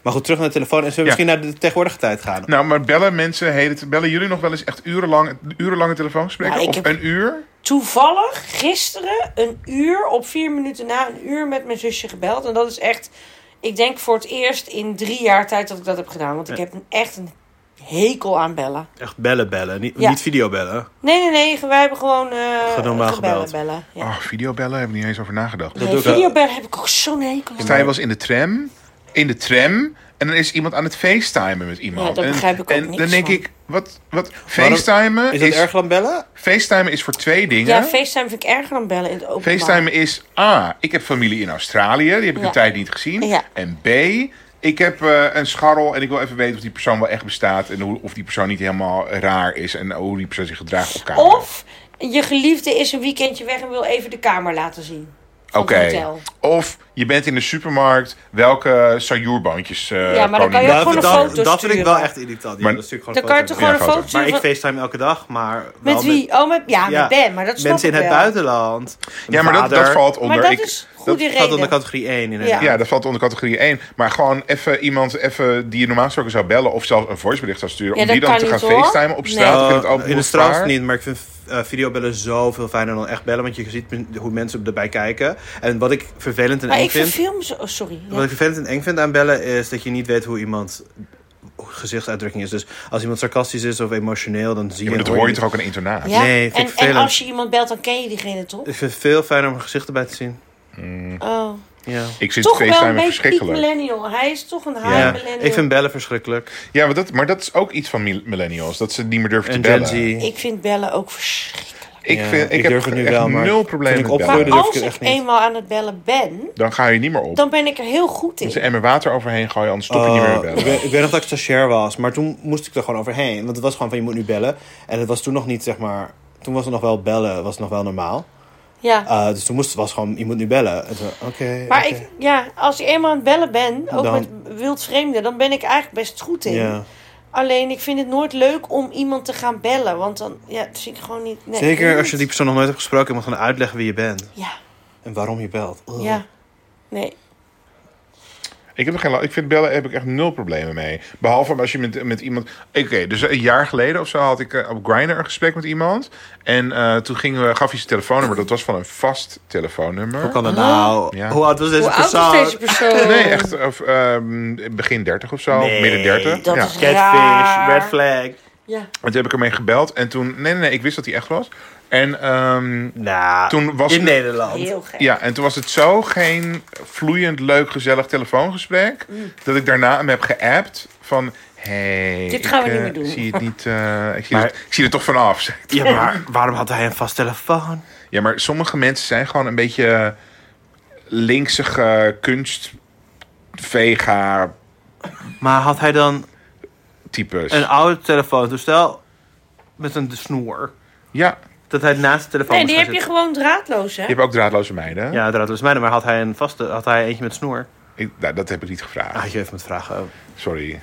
Maar goed, terug naar de telefoon. En zullen we Ja. misschien naar de tegenwoordige tijd gaan? Nou, maar bellen mensen, heet het, bellen jullie nog wel eens echt urenlang, urenlange telefoongesprekken? Nou, ik of heb- een uur? Toevallig gisteren een uur, op vier minuten na een uur met mijn zusje gebeld. En dat is echt, ik denk voor het eerst in drie jaar tijd dat ik dat heb gedaan. Want ik heb een- echt een hekel aan bellen. Echt bellen, bellen. Niet, Ja. niet videobellen. Nee, nee, nee. Wij hebben gewoon eh Gewoon normaal gebellen, gebeld. bellen. Ja. Oh, videobellen, heb ik niet eens over nagedacht. Nee, doe ik wel. videobellen heb ik ook zo'n hekel aan. Stijn was in de tram. In de tram. En dan is iemand aan het facetimen met iemand. Ja, daar en, begrijp ik ook En niks dan denk van. ik, wat, wat facetimen Is is, dat erg dan bellen? facetimen is voor twee dingen. Ja, FaceTime vind ik erger dan bellen in het openbaar. FaceTime is A. Ik heb familie in Australië, die heb ik Ja. een tijd niet gezien. Ja. En B. Ik heb eh, een scharrel en ik wil even weten of die persoon wel echt bestaat. En hoe, of die persoon niet helemaal raar is. En hoe die persoon zich gedraagt op camera. Of je geliefde is een weekendje weg en wil even de kamer laten zien. van Oké. het hotel. Of je bent in de supermarkt. Welke sajoerbandjes eh Ja, maar dan kan je koningin- ook gewoon een dat, foto dat vind ik wel sturen. echt irritant. Ja, Maar- dat is natuurlijk gewoon Dan kan je toch foto's. gewoon Ja, een foto. foto Maar sturen ik van- facetime elke dag, maar wel Met wie? Oh, met, ja, met Ben, maar dat snap Mensen in ik het wel. buitenland. Ja, maar dat, dat valt onder... Maar dat ik- is goede Dat gaat reden. onder categorie 1 inderdaad. Ja. Ja, dat valt onder categorie 1. Maar gewoon even iemand even die je normaal gesproken zou bellen... of zelfs een voicebericht zou sturen... Ja, om die dat dan te kan gaan niet, hoor. facetimen op Nee. straat. ik Eh, vind het ook in de straat niet. niet, maar ik vind eh, videobellen zoveel fijner dan echt bellen. Want je ziet hoe mensen erbij kijken. En wat ik vervelend en Maar eng ik vind vind... films... Oh, sorry. Ja. Wat ik vervelend en eng vind aan bellen is dat je niet weet hoe iemand hoe gezichtsuitdrukking is. Dus als iemand sarcastisch is of emotioneel, dan zie Ja, je... maar dat hoor je toch ook aan de internaat? Ja? Nee, vind ik en, en vervelend. als je iemand belt, dan ken je diegene toch? Ik vind het veel fijner om gezichten bij te zien. Mm. Oh. Ja. Ik vind Toch wel een FaceTime beetje piek verschrikkelijk. millennial. Hij is toch een high Ja, millennial. ik vind bellen verschrikkelijk. Ja, maar dat, maar dat is ook iets van mil- millennials. Dat ze niet meer durven te En Gen bellen. Z. Ik vind bellen ook verschrikkelijk. Ik, Ja, vind, ik, ik heb durf het nu echt wel, maar nul toen problemen ik met opgroeide- bellen. durf Maar ik als het ik echt niet. eenmaal aan het bellen ben, Dan ga je niet meer op. dan ben ik er heel goed Als je in. emmer water overheen gooien, anders stop je niet meer met Eh, ik, bellen. weet, ik weet nog dat ik stagiair was, maar toen moest ik er gewoon overheen. Want het was gewoon van, je moet nu bellen. En het was toen nog niet, zeg maar... Toen was het nog wel bellen, was het nog wel normaal. Ja. Eh, dus toen moest, was gewoon, je moet nu bellen. En toen, Oké, Maar oké. ik, ja, als ik eenmaal aan het bellen ben, ook Dan- met wildvreemden, dan ben ik eigenlijk best goed in. Ja. Alleen ik vind het nooit leuk om iemand te gaan bellen, want dan ja, dat vind ik gewoon niet. nee, ik Zeker weet als je die niet. persoon nog nooit hebt gesproken, je moet gewoon uitleggen wie je bent. Ja, En waarom je belt. Ugh. ja. Nee. Ik, heb er geen, la- ik vind bellen heb ik echt nul problemen mee. Behalve als je met, met iemand. Oké, dus een jaar geleden of zo had ik eh, op Grindr een gesprek met iemand. En eh, toen gingen we, gaf hij zijn telefoonnummer. Dat was van een vast telefoonnummer. Hoe kan dat nou? Ja. Hoe oud was deze Hoe oud persoon? is deze persoon? Nee, echt of, ehm, begin 30 of zo, Nee, midden 30. dat ja. is Catfish, raar. red flag. Ja. En toen heb ik ermee gebeld. En toen. Nee, nee, nee, ik wist dat hij echt was. En, ehm, Nou, Toen was in het- Nederland. Heel gek. ja, en toen was het zo geen vloeiend, leuk, gezellig telefoongesprek. Mm. Dat ik daarna hem heb geappt van. Hey, Dit gaan we ik, niet eh, meer doen. Zie het niet, eh, ik, zie Maar- het- ik zie er toch vanaf. Ja, maar waarom had hij een vast telefoon? Ja, maar sommige mensen zijn gewoon een beetje linksige kunst, vega Maar had hij dan types. een oude telefoontoestel met een snoer? Ja, Dat hij naast de telefoon Nee, moest die heb gaan je zitten. gewoon draadloos, hè? je hebt ook draadloze meiden. Ja, draadloos mijne, maar had hij een vaste, had hij eentje met snoer? Ik, nou, dat heb ik niet gevraagd. Ah, je even moet vragen. Oké. Sorry.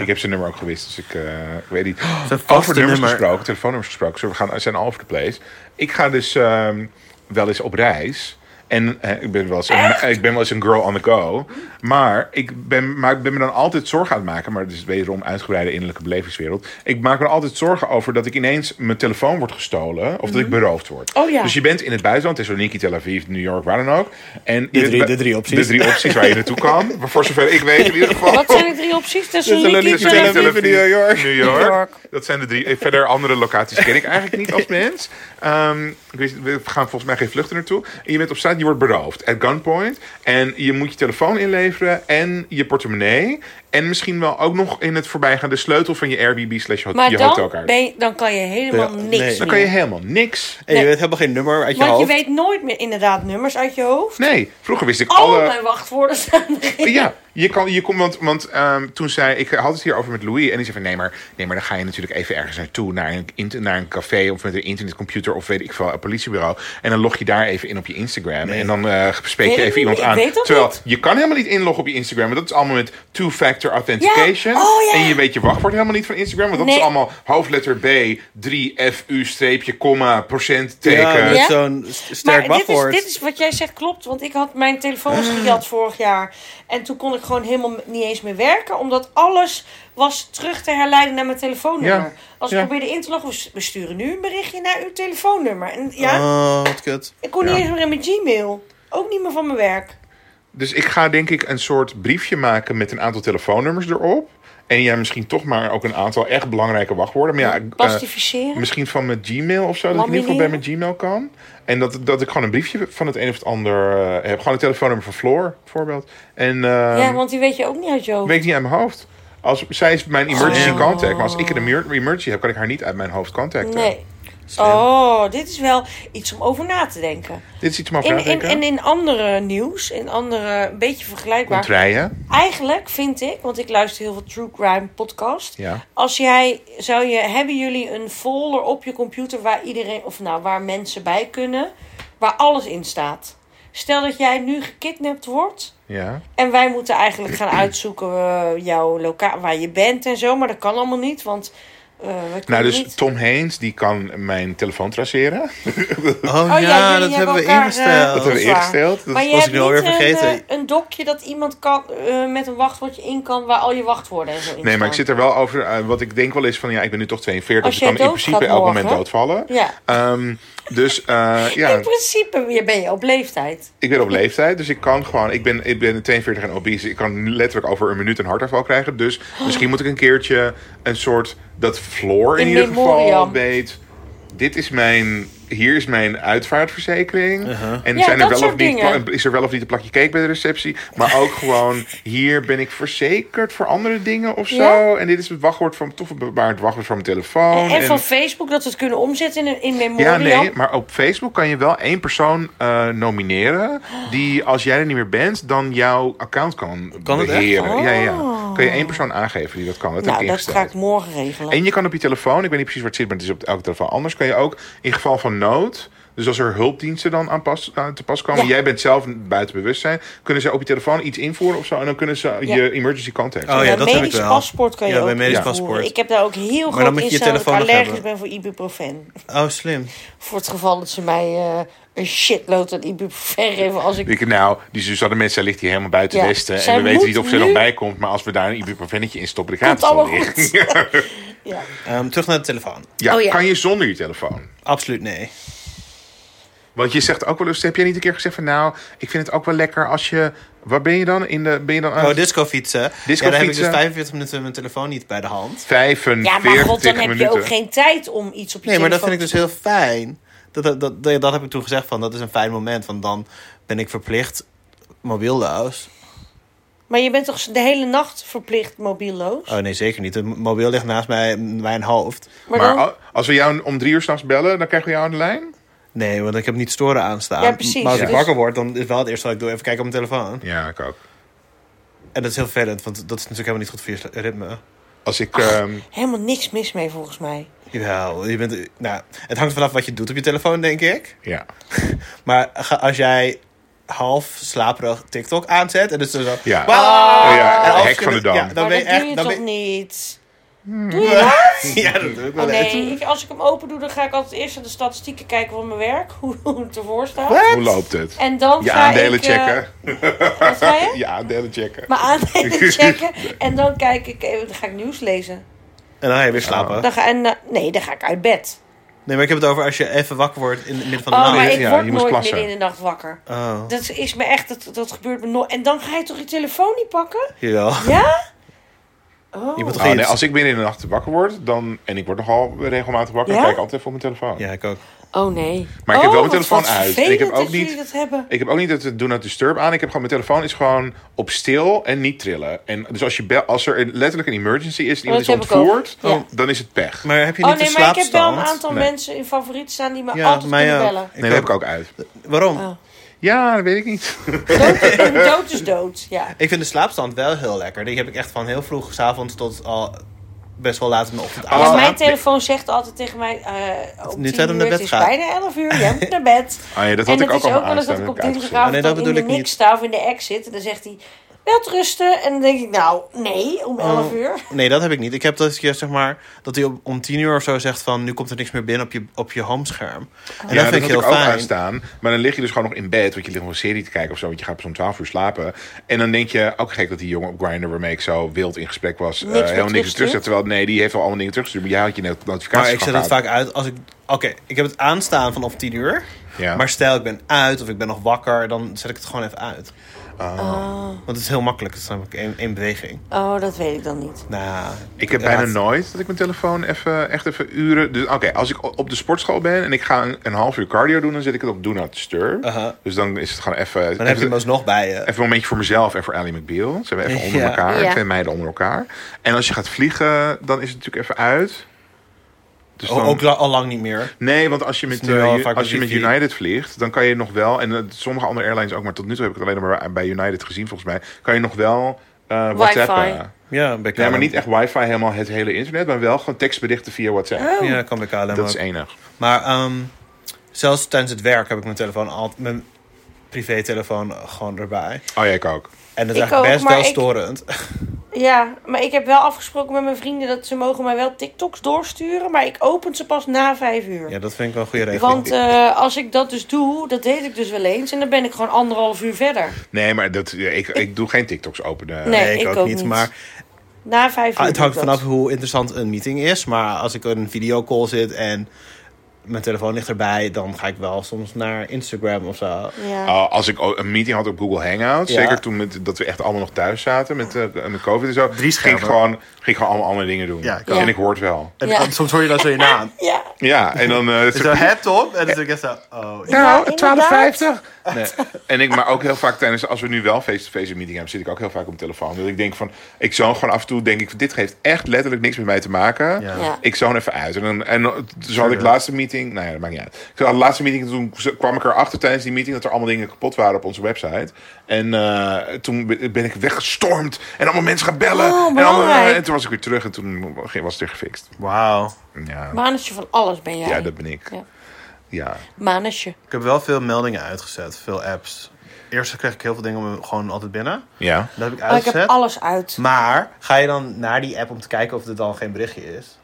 Ik heb zijn nummer ook gewist, dus ik, eh, ik weet niet. Zijn Over vaste nummers nummer. gesproken, telefoonnummers gesproken. Sorry, we gaan, we zijn all over the place. Ik ga dus ehm, wel eens op reis. En eh, ik, ben wel eens een, ik ben wel eens een girl on the go. Maar ik, ben, maar ik ben me dan altijd zorgen aan het maken. Maar het is wederom uitgebreide innerlijke belevingswereld. Ik maak me altijd zorgen over dat ik ineens mijn telefoon wordt gestolen. Of dat Mhm. ik beroofd word. Oh ja. Dus je bent in het buitenland. Thessaloniki, Tel Aviv, New York, waar dan ook. En je bent drie- bij- de drie opties. De drie opties waar je naartoe kan. Maar voor zover ik weet in ieder geval. Wat zijn de drie opties? Dat is een Thessaloniki, Tel Aviv. Tel Aviv, New York. New New York. York. Dat zijn de drie. Eh, Verder andere locaties ken ik eigenlijk niet als mens. Ehm, ik weet, we gaan volgens mij geen vluchten naartoe. En je bent op straat, je wordt beroofd. At gunpoint. En je moet je telefoon inleveren en je portemonnee. En misschien wel ook nog in het voorbijgaan de sleutel van je Airbnb slash hot- Maar je dan, hotelkaart. ben je- dan kan je helemaal Ja, niks nee. Dan meer. kan je helemaal niks. En je weet helemaal geen nummer uit je Want je hoofd. weet nooit meer inderdaad nummers uit je hoofd. Nee, vroeger wist ik Al alle... mijn wachtwoorden staan erin. Ja, je kan, je komt, want, want ehm, toen zei ik had het hier over met Louis en die zei van nee maar, nee, maar dan ga je natuurlijk even ergens naartoe naar een, int- naar een café of met een internetcomputer of weet ik veel, een politiebureau en dan log je daar even in op je Instagram en dan eh spreek Weet je ik even niet, iemand ik aan. weet dat Terwijl niet. je kan helemaal niet inloggen op je Instagram, want dat is allemaal met two-factor authentication Ja, oh ja. en je weet je wachtwoord helemaal niet van Instagram, want dat Nee. is allemaal hoofdletter B 3 F U streepje komma procent teken. Ja, met Ja? zo'n s- sterk maar dit is, wachtwoord. dit is wat jij zegt klopt, want ik had mijn telefoon was gejat vorig jaar. En toen kon ik gewoon helemaal m- niet eens meer werken, omdat alles was terug te herleiden naar mijn telefoonnummer. Ja, Als ja. ik probeerde in te loggen, we s- we sturen nu een berichtje naar uw telefoonnummer. En ja, Oh, wat kut. ik kon Ah, ja. niet eens meer in mijn Gmail. Ook niet meer van mijn werk. Dus ik ga denk ik een soort briefje maken met een aantal telefoonnummers erop. En ja, misschien toch maar ook een aantal echt belangrijke wachtwoorden. Maar ja, ik, eh, Plastificeren? misschien van mijn Gmail of zo. Dat ik in ieder geval bij mijn Gmail kan. En dat, dat ik gewoon een briefje van het een of het ander eh, heb. Gewoon een telefoonnummer van Floor, bijvoorbeeld. En eh, ja, want die weet je ook niet uit je hoofd. weet ik niet uit mijn hoofd. Als, zij is mijn emergency Oh. contact. Maar als ik een emer- emergency heb, kan ik haar niet uit mijn hoofd contacten. Nee. Oh, dit is wel iets om over na te denken. Dit is iets om over In, na te in, denken. en in andere nieuws, in andere, een beetje vergelijkbaar. Contraien. Eigenlijk vind ik, want ik luister heel veel true crime podcast. Ja. Als jij, zou je, hebben jullie een folder op je computer waar iedereen, of nou, waar mensen bij kunnen, waar alles in staat? Stel dat jij nu gekidnapt wordt Ja. en wij moeten eigenlijk gaan uitzoeken eh, jouw locaal, waar je bent en zo, maar dat kan allemaal niet, want eh, we kunnen Nou, dus niet. Tom Heens, die kan mijn telefoon traceren. Oh, Oh ja, ja, jullie hebben dat hebben we elkaar, eh, ingesteld. Dat hebben we ingesteld. Dat maar is- je was hebt ik nu alweer niet een, vergeten. eh, een dokje dat iemand kan, eh, met een wachtwoordje in kan waar al je wachtwoorden en zo in Nee, maar ik staan. zit er wel over. eh, wat ik denk wel is van ja, ik ben nu toch 42. Als Dus ik jij kan in doodgaat principe elk moment morgen. doodvallen. Ja. Ehm, dus eh, ja, In principe ben je op leeftijd. ik ben op leeftijd. Dus ik kan gewoon. Ik ben, ik ben 42 en obese. Ik kan letterlijk over een minuut een hartaanval krijgen. Dus misschien moet ik een keertje een soort. Dat Floor in, In ieder geval memoriam. weet. Dit is mijn. Hier is mijn uitvaartverzekering. En Ja, zijn dat er wel of soort niet, dingen. pla- is er wel of niet een plakje cake bij de receptie. Maar ook gewoon, hier ben ik verzekerd voor andere dingen of zo. Ja? En dit is het wachtwoord van, toch een bewaard wachtwoord van mijn telefoon. en, van Facebook dat we het kunnen omzetten in, een- in Ja, memoriam. nee, maar op Facebook kan je wel één persoon eh, nomineren. Die, als jij er niet meer bent, dan jouw account kan, Kan het echt? beheren. Ja, ja. Kan je één persoon aangeven die dat kan. Dat heb Oh. nou, ik dat ingesteld. ga ik morgen regelen. En je kan op je telefoon, ik weet niet precies waar het zit, maar het is op elke telefoon anders. Kan je ook in geval van nood, dus als er hulpdiensten dan aan pas, aan te pas komen, Ja. jij bent zelf buiten bewustzijn, kunnen ze op je telefoon iets invoeren of zo en dan kunnen ze Ja. je emergency contact. Oh, ja, Bij dat heb ik medisch wel. paspoort kan je Ja, ook bij medisch invoeren. paspoort. Ik heb daar ook heel dan groot moet je in je staan dat ik telefoon nog allergisch hebben. ben voor ibuprofen. eh, Oh, slim. Voor het geval dat ze mij eh, een shitload aan ibuprofen geven als ik... Ik, nou, die Suzanne Messa ligt hier helemaal buiten Ja. Westen. Zij en we weten moet niet of ze er nog nu- bij komt. Maar als we daar een ibuprofennetje in stoppen, dan gaat Komt het wel allemaal weer. goed. Ja. Ehm, terug naar de telefoon. Ja, Oh, ja. Kan je zonder je telefoon? Absoluut nee. Want je zegt ook wel eens, heb jij niet een keer gezegd van... nou, ik vind het ook wel lekker als je... Waar ben je dan? In de, ben je dan aan Oh, het- discofietsen. Discofietsen. ja, dan heb ik dus 45 minuten mijn telefoon niet bij de hand. 45 ja, maar god, dan heb minuten. je ook geen tijd om iets op je Nee, maar dat vind telefoon ik dus heel fijn. Dat, dat, dat, dat, dat heb ik toen gezegd van, dat is een fijn moment. Want dan ben ik verplicht mobieelloos. te- dus- Maar je bent toch de hele nacht verplicht mobieloos? Oh nee, zeker niet. Het mobiel ligt naast mij, mijn hoofd. Maar, maar dan... al- als we jou om drie uur s'nachts bellen, dan krijgen we jou aan de lijn? Nee, want ik heb niet storen aanstaan. Ja, precies. Maar als ik Ja. wakker word, dan is wel het eerste wat ik doe even kijken op mijn telefoon. Ja, ik ook. En dat is heel vervelend, want dat is natuurlijk helemaal niet goed voor je sla- ritme. Als ik... ehm, Helemaal niks mis mee volgens mij. Jawel, je bent, nou, het hangt vanaf wat je doet op je telefoon, denk ik. ja. Maar ga- als jij half slaperig TikTok aanzet en dus zo... Ja. Wow! Oh ja, En half hek van de dam. Ja, dan maar ben je dat doe echt... je Dan toch ben niet? Hmm. Doe je dat? Ja, dat doe ik wel Oh, echt. nee, ik- als ik hem open doe, dan ga ik altijd eerst naar de statistieken kijken van mijn werk. Hoe hoe het ervoor staat. Hoe loopt het? En dan Je ga aandelen ik... eh, checken. wat zei je? Je aandelen checken. Mijn aandelen checken. En dan kijk ik even, dan ga ik nieuws lezen. En dan ga je weer slapen. Dan ga, en, eh, nee, dan ga ik uit bed. Nee, maar ik heb het over als je even wakker wordt in het midden van de Oh, maar nacht. ik ja, word nou, je moest nooit plassen. midden in de nacht wakker. Oh, Dat is me echt, dat, dat gebeurt me nooit. En dan ga je toch je telefoon niet pakken? jawel. Ja? Oh. Je moet toch Oh, geen- nee, als ik binnen in de nacht wakker word, dan, en ik word nogal regelmatig wakker, Ja? dan kijk ik altijd even op mijn telefoon. Ja, ik ook. Oh, nee. Maar Oh, ik heb wel mijn wat- telefoon wat uit. En ik vervelend heb ook dat jullie niet- dat hebben. Ik heb ook niet dat doen het disturb aan. Ik heb gewoon mijn telefoon is gewoon op stil en niet trillen. En dus als, je bel, als er een- letterlijk een emergency is, en iemand is dat heb ik ook. ontvoerd, Ja. dan is het pech. Maar heb je Oh niet nee, de maar ik heb slaapstand? wel een aantal Nee. mensen in favoriet staan die me Ja, altijd mij kunnen ook. bellen. nee, dat heb ik ook uit. Waarom? Oh. Ja, dat weet ik niet. Dood, dood is dood, ja. Ik vind de slaapstand wel heel lekker. Die heb ik echt van heel vroeg s'avonds tot al best wel laat in de ochtend aan. Ja, Oh, mijn ah, telefoon zegt altijd tegen mij, eh op Nu 10 tijd uur, om naar het bed is gaan. bijna 11 uur, jij moet naar bed. Ah ja, dat en had het ik ook is ook allemaal wel eens dat aanstaan. ik op heb ik dinsdagavond Oh, nee, dan dat in bedoel de ik niet. niks sta of in de ex zit. En dan zegt hij, welterusten. En dan denk ik, nou, nee, Oh. om 11 Oh. uur. Nee, dat heb ik niet. Ik heb dat je zeg maar dat hij om- om tien uur of zo zegt van nu komt er niks meer binnen op je, op je homescherm. En Ja, dat vind ik heel had ook fijn. aanstaan. Maar dan lig je dus gewoon nog in bed, want je ligt nog een serie te kijken of zo, want je gaat pas om 12 uur slapen. En dan denk je, ook gek dat die jongen op Grindr waarmee ik zo wild in gesprek was, eh, meer helemaal niks terugstuurt. terugzet. Terwijl, nee, die heeft al allemaal dingen teruggestuurd, maar jij had je net notificaties Maar ik zet gehad. het vaak uit als ik. Oké, ik heb het aanstaan vanaf tien uur. Ja. Maar stel ik ben uit of ik ben nog wakker, dan zet ik het gewoon even uit. Oh. Want het is heel makkelijk. Het is namelijk één, één beweging. Oh, dat weet ik dan niet. Nou, Ik heb bijna nooit dat ik mijn telefoon even, echt even uren... Dus, Oké, als ik o- op de sportschool ben en ik ga een, een half uur cardio doen... dan zet ik het op Do Not Disturb. Aha. Dus dan is het gewoon even... Dan even- heb je hem alsnog bij je. Even een momentje voor mezelf en voor Ally McBeal. Ze hebben even onder Ja. elkaar, Ja. twee meiden onder elkaar. En als je gaat vliegen, dan is het natuurlijk even uit. Dus O- dan- Ook la- al lang niet meer. Nee, want als je met, nu eh, wel ju- vaak als met je met wifi. United vliegt, dan kan je nog wel... en eh, sommige andere airlines ook, maar tot nu toe heb ik het alleen maar bij United gezien volgens mij... kan je nog wel eh whatsappen. Ja, bij Nee, KLM. maar niet echt wifi helemaal het hele internet... maar wel gewoon tekstberichten via WhatsApp. Ja, kan bij KLM Dat ook. is enig. Maar ehm, zelfs tijdens het werk heb ik mijn telefoon altijd... Mijn privételefoon gewoon erbij. Oh ja, ik ook. En dat Ik is eigenlijk ook, best maar wel ik- storend. Ja, maar ik heb wel afgesproken met mijn vrienden dat ze mogen mij wel TikToks doorsturen, maar ik open ze pas na vijf uur. Ja, dat vind ik wel een goede regeling. Want eh, als ik dat dus doe, dat deed ik dus wel eens en dan ben ik gewoon anderhalf uur verder. Nee, maar dat, ik, ik doe geen TikToks eh. openen. Nee, Nee, ik, ook, niet. Maar Na vijf uur. Ah, het doe hangt ik vanaf dat. hoe interessant een meeting is. Maar als ik in een videocall zit en mijn telefoon ligt erbij, dan ga ik wel soms naar Instagram of zo. Ja. Uh, als ik o- een meeting had op Google Hangout, Ja. zeker toen met, dat we echt allemaal nog thuis zaten met, eh, met COVID en zo, ging schermen. ik gewoon, ging ik gewoon allemaal andere dingen doen. Ja, ik ook. En ik hoor het wel. En Ja. dan- soms hoor je dan zo je naam. ja. Ja, en dan. eh, Zo hebt op. En dan denk ik zo, oh. ja. Nou, 12,50. en ik, maar ook heel vaak tijdens, als we nu wel face-to-face een meeting hebben, zit ik ook heel vaak op mijn telefoon. Dat ik denk van, ik zoon gewoon af en toe, denk ik, dit heeft echt letterlijk niks met mij te maken. Ja. Ja. Ik zoon even uit. En, dan, en zo had ik de laatste meeting. Nou ja, dat maakt niet uit. Ik had de laatste meeting. Toen kwam ik erachter tijdens die meeting dat er allemaal dingen kapot waren op onze website. En eh, toen be- ben ik weggestormd. En allemaal mensen gaan bellen. Oh, en, allemaal- eh, belangrijk. en toen was ik weer terug en toen was het weer gefixt. Wauw. Ja, Manetje van alles ben jij. ja dat ben ik. Ja. Ja. Manetje. Ik heb wel veel meldingen uitgezet. Veel apps. Eerst kreeg ik heel veel dingen om- gewoon altijd binnen. Ja. Dat heb ik Oh, ik uitgezet. heb alles Hm. uit. Maar ga je dan naar die app om te kijken of er dan geen berichtje is?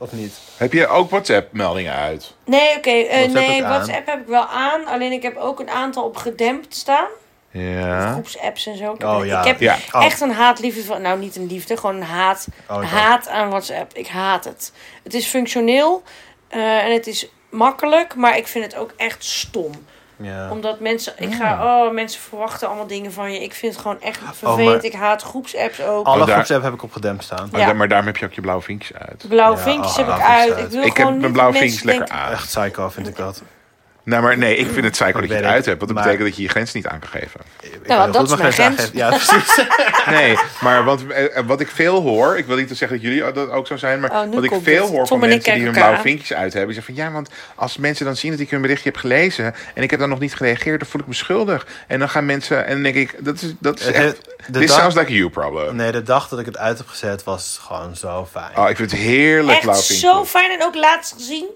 Of niet? Heb je ook WhatsApp-meldingen uit? Nee, oké. eh, WhatsApp nee, ook aan. WhatsApp heb ik wel aan. Alleen ik heb ook een aantal op gedempt staan. Ja. groepsapps en zo. Ik Oh, heb- ja. Ik heb Ja. Oh. echt een haatliefde van... Nou, niet een liefde, gewoon een haat. Oh, ik haat aan WhatsApp. Ik haat het. Het is functioneel eh, en het is makkelijk, maar ik vind het ook echt stom. Ja. Ah. Omdat mensen... Ik ga... Oh, mensen verwachten allemaal dingen van je. Ik vind het gewoon echt vervelend. Oh, maar- Ik haat groepsapps ook. Alle Oh, daar- groepsapp heb ik op gedempt staan. Maar, Ja. da- maar daarom heb je ook je blauwe vinkjes uit. Blauwe Ja, vinkjes oh, heb ik blauwe vinkjes uit. uit. Ik, wil Ik gewoon heb niet mijn blauwe dat vinkjes mensen lekker aan. Echt psycho vind ik dat. Nou, maar nee, ik vind het psycho dat je weet het ik. uit hebt. Want dat Maar- betekent dat je je grens niet aan kan geven. Ik Nou, weet dat heel is mijn goed, maar grens. geen zaag heeft- Ja, precies. Nee, maar wat, eh, wat ik veel hoor, ik wil niet zeggen dat jullie dat ook zo zijn, maar Oh, nu wat ik komt veel het. Tom hoor van en ik mensen die kijken hun elkaar blauwe aan. vinkjes uit hebben, die zeggen van ja, want als mensen dan zien dat ik hun berichtje heb gelezen en ik heb dan nog niet gereageerd, dan voel ik me schuldig. En dan gaan mensen, en dan denk ik, dat is, dat is Het- echt, de this dag- sounds like a you problem. Nee, de dag dat ik het uit heb gezet was gewoon zo fijn. Oh, ik vind het heerlijk blauwe Echt vinkjes. zo fijn. En ook laatst gezien.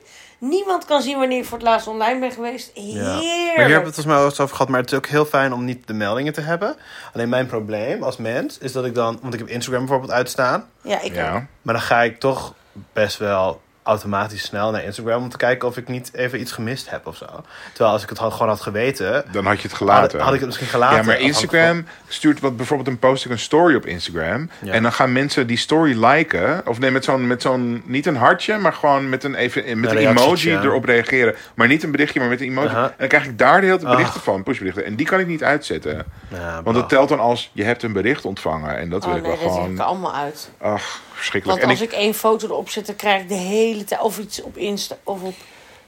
Niemand kan zien wanneer ik voor het laatst online ben geweest. Ja. Heerlijk. Maar hier hebben we het volgens mij ook eens over gehad. Maar het is ook heel fijn om niet de meldingen te hebben. Alleen mijn probleem als mens is dat ik dan... Want ik heb Instagram bijvoorbeeld uitstaan. Ja, ik ook. Ja. Maar dan ga ik toch best wel automatisch snel naar Instagram... om te kijken of ik niet even iets gemist heb of zo. Terwijl als ik het had, gewoon had geweten... Dan had je het Had, gelaten. had ik het misschien gelaten. Ja, maar Afhankelijk Instagram stuurt wat bijvoorbeeld een post ik een story op Instagram. Ja. En dan gaan mensen die story liken. Of nee, met zo'n, met zo'n niet een hartje, maar gewoon met een, even, met Een een emoji reactietje. erop reageren. Maar niet een berichtje, maar met een emoji. Aha. En dan krijg ik daar de hele tijd berichten Ach. van, pushberichten. En die kan ik niet uitzetten. van- Ja, Want maar- dat telt dan als je hebt een bericht ontvangen. En dat Oh nee, wil ik wel dat heb gewoon. ik er allemaal uit. Ach, verschrikkelijk. Want als en ik één foto erop zet, dan krijg ik de hele tijd... Of iets op Insta of op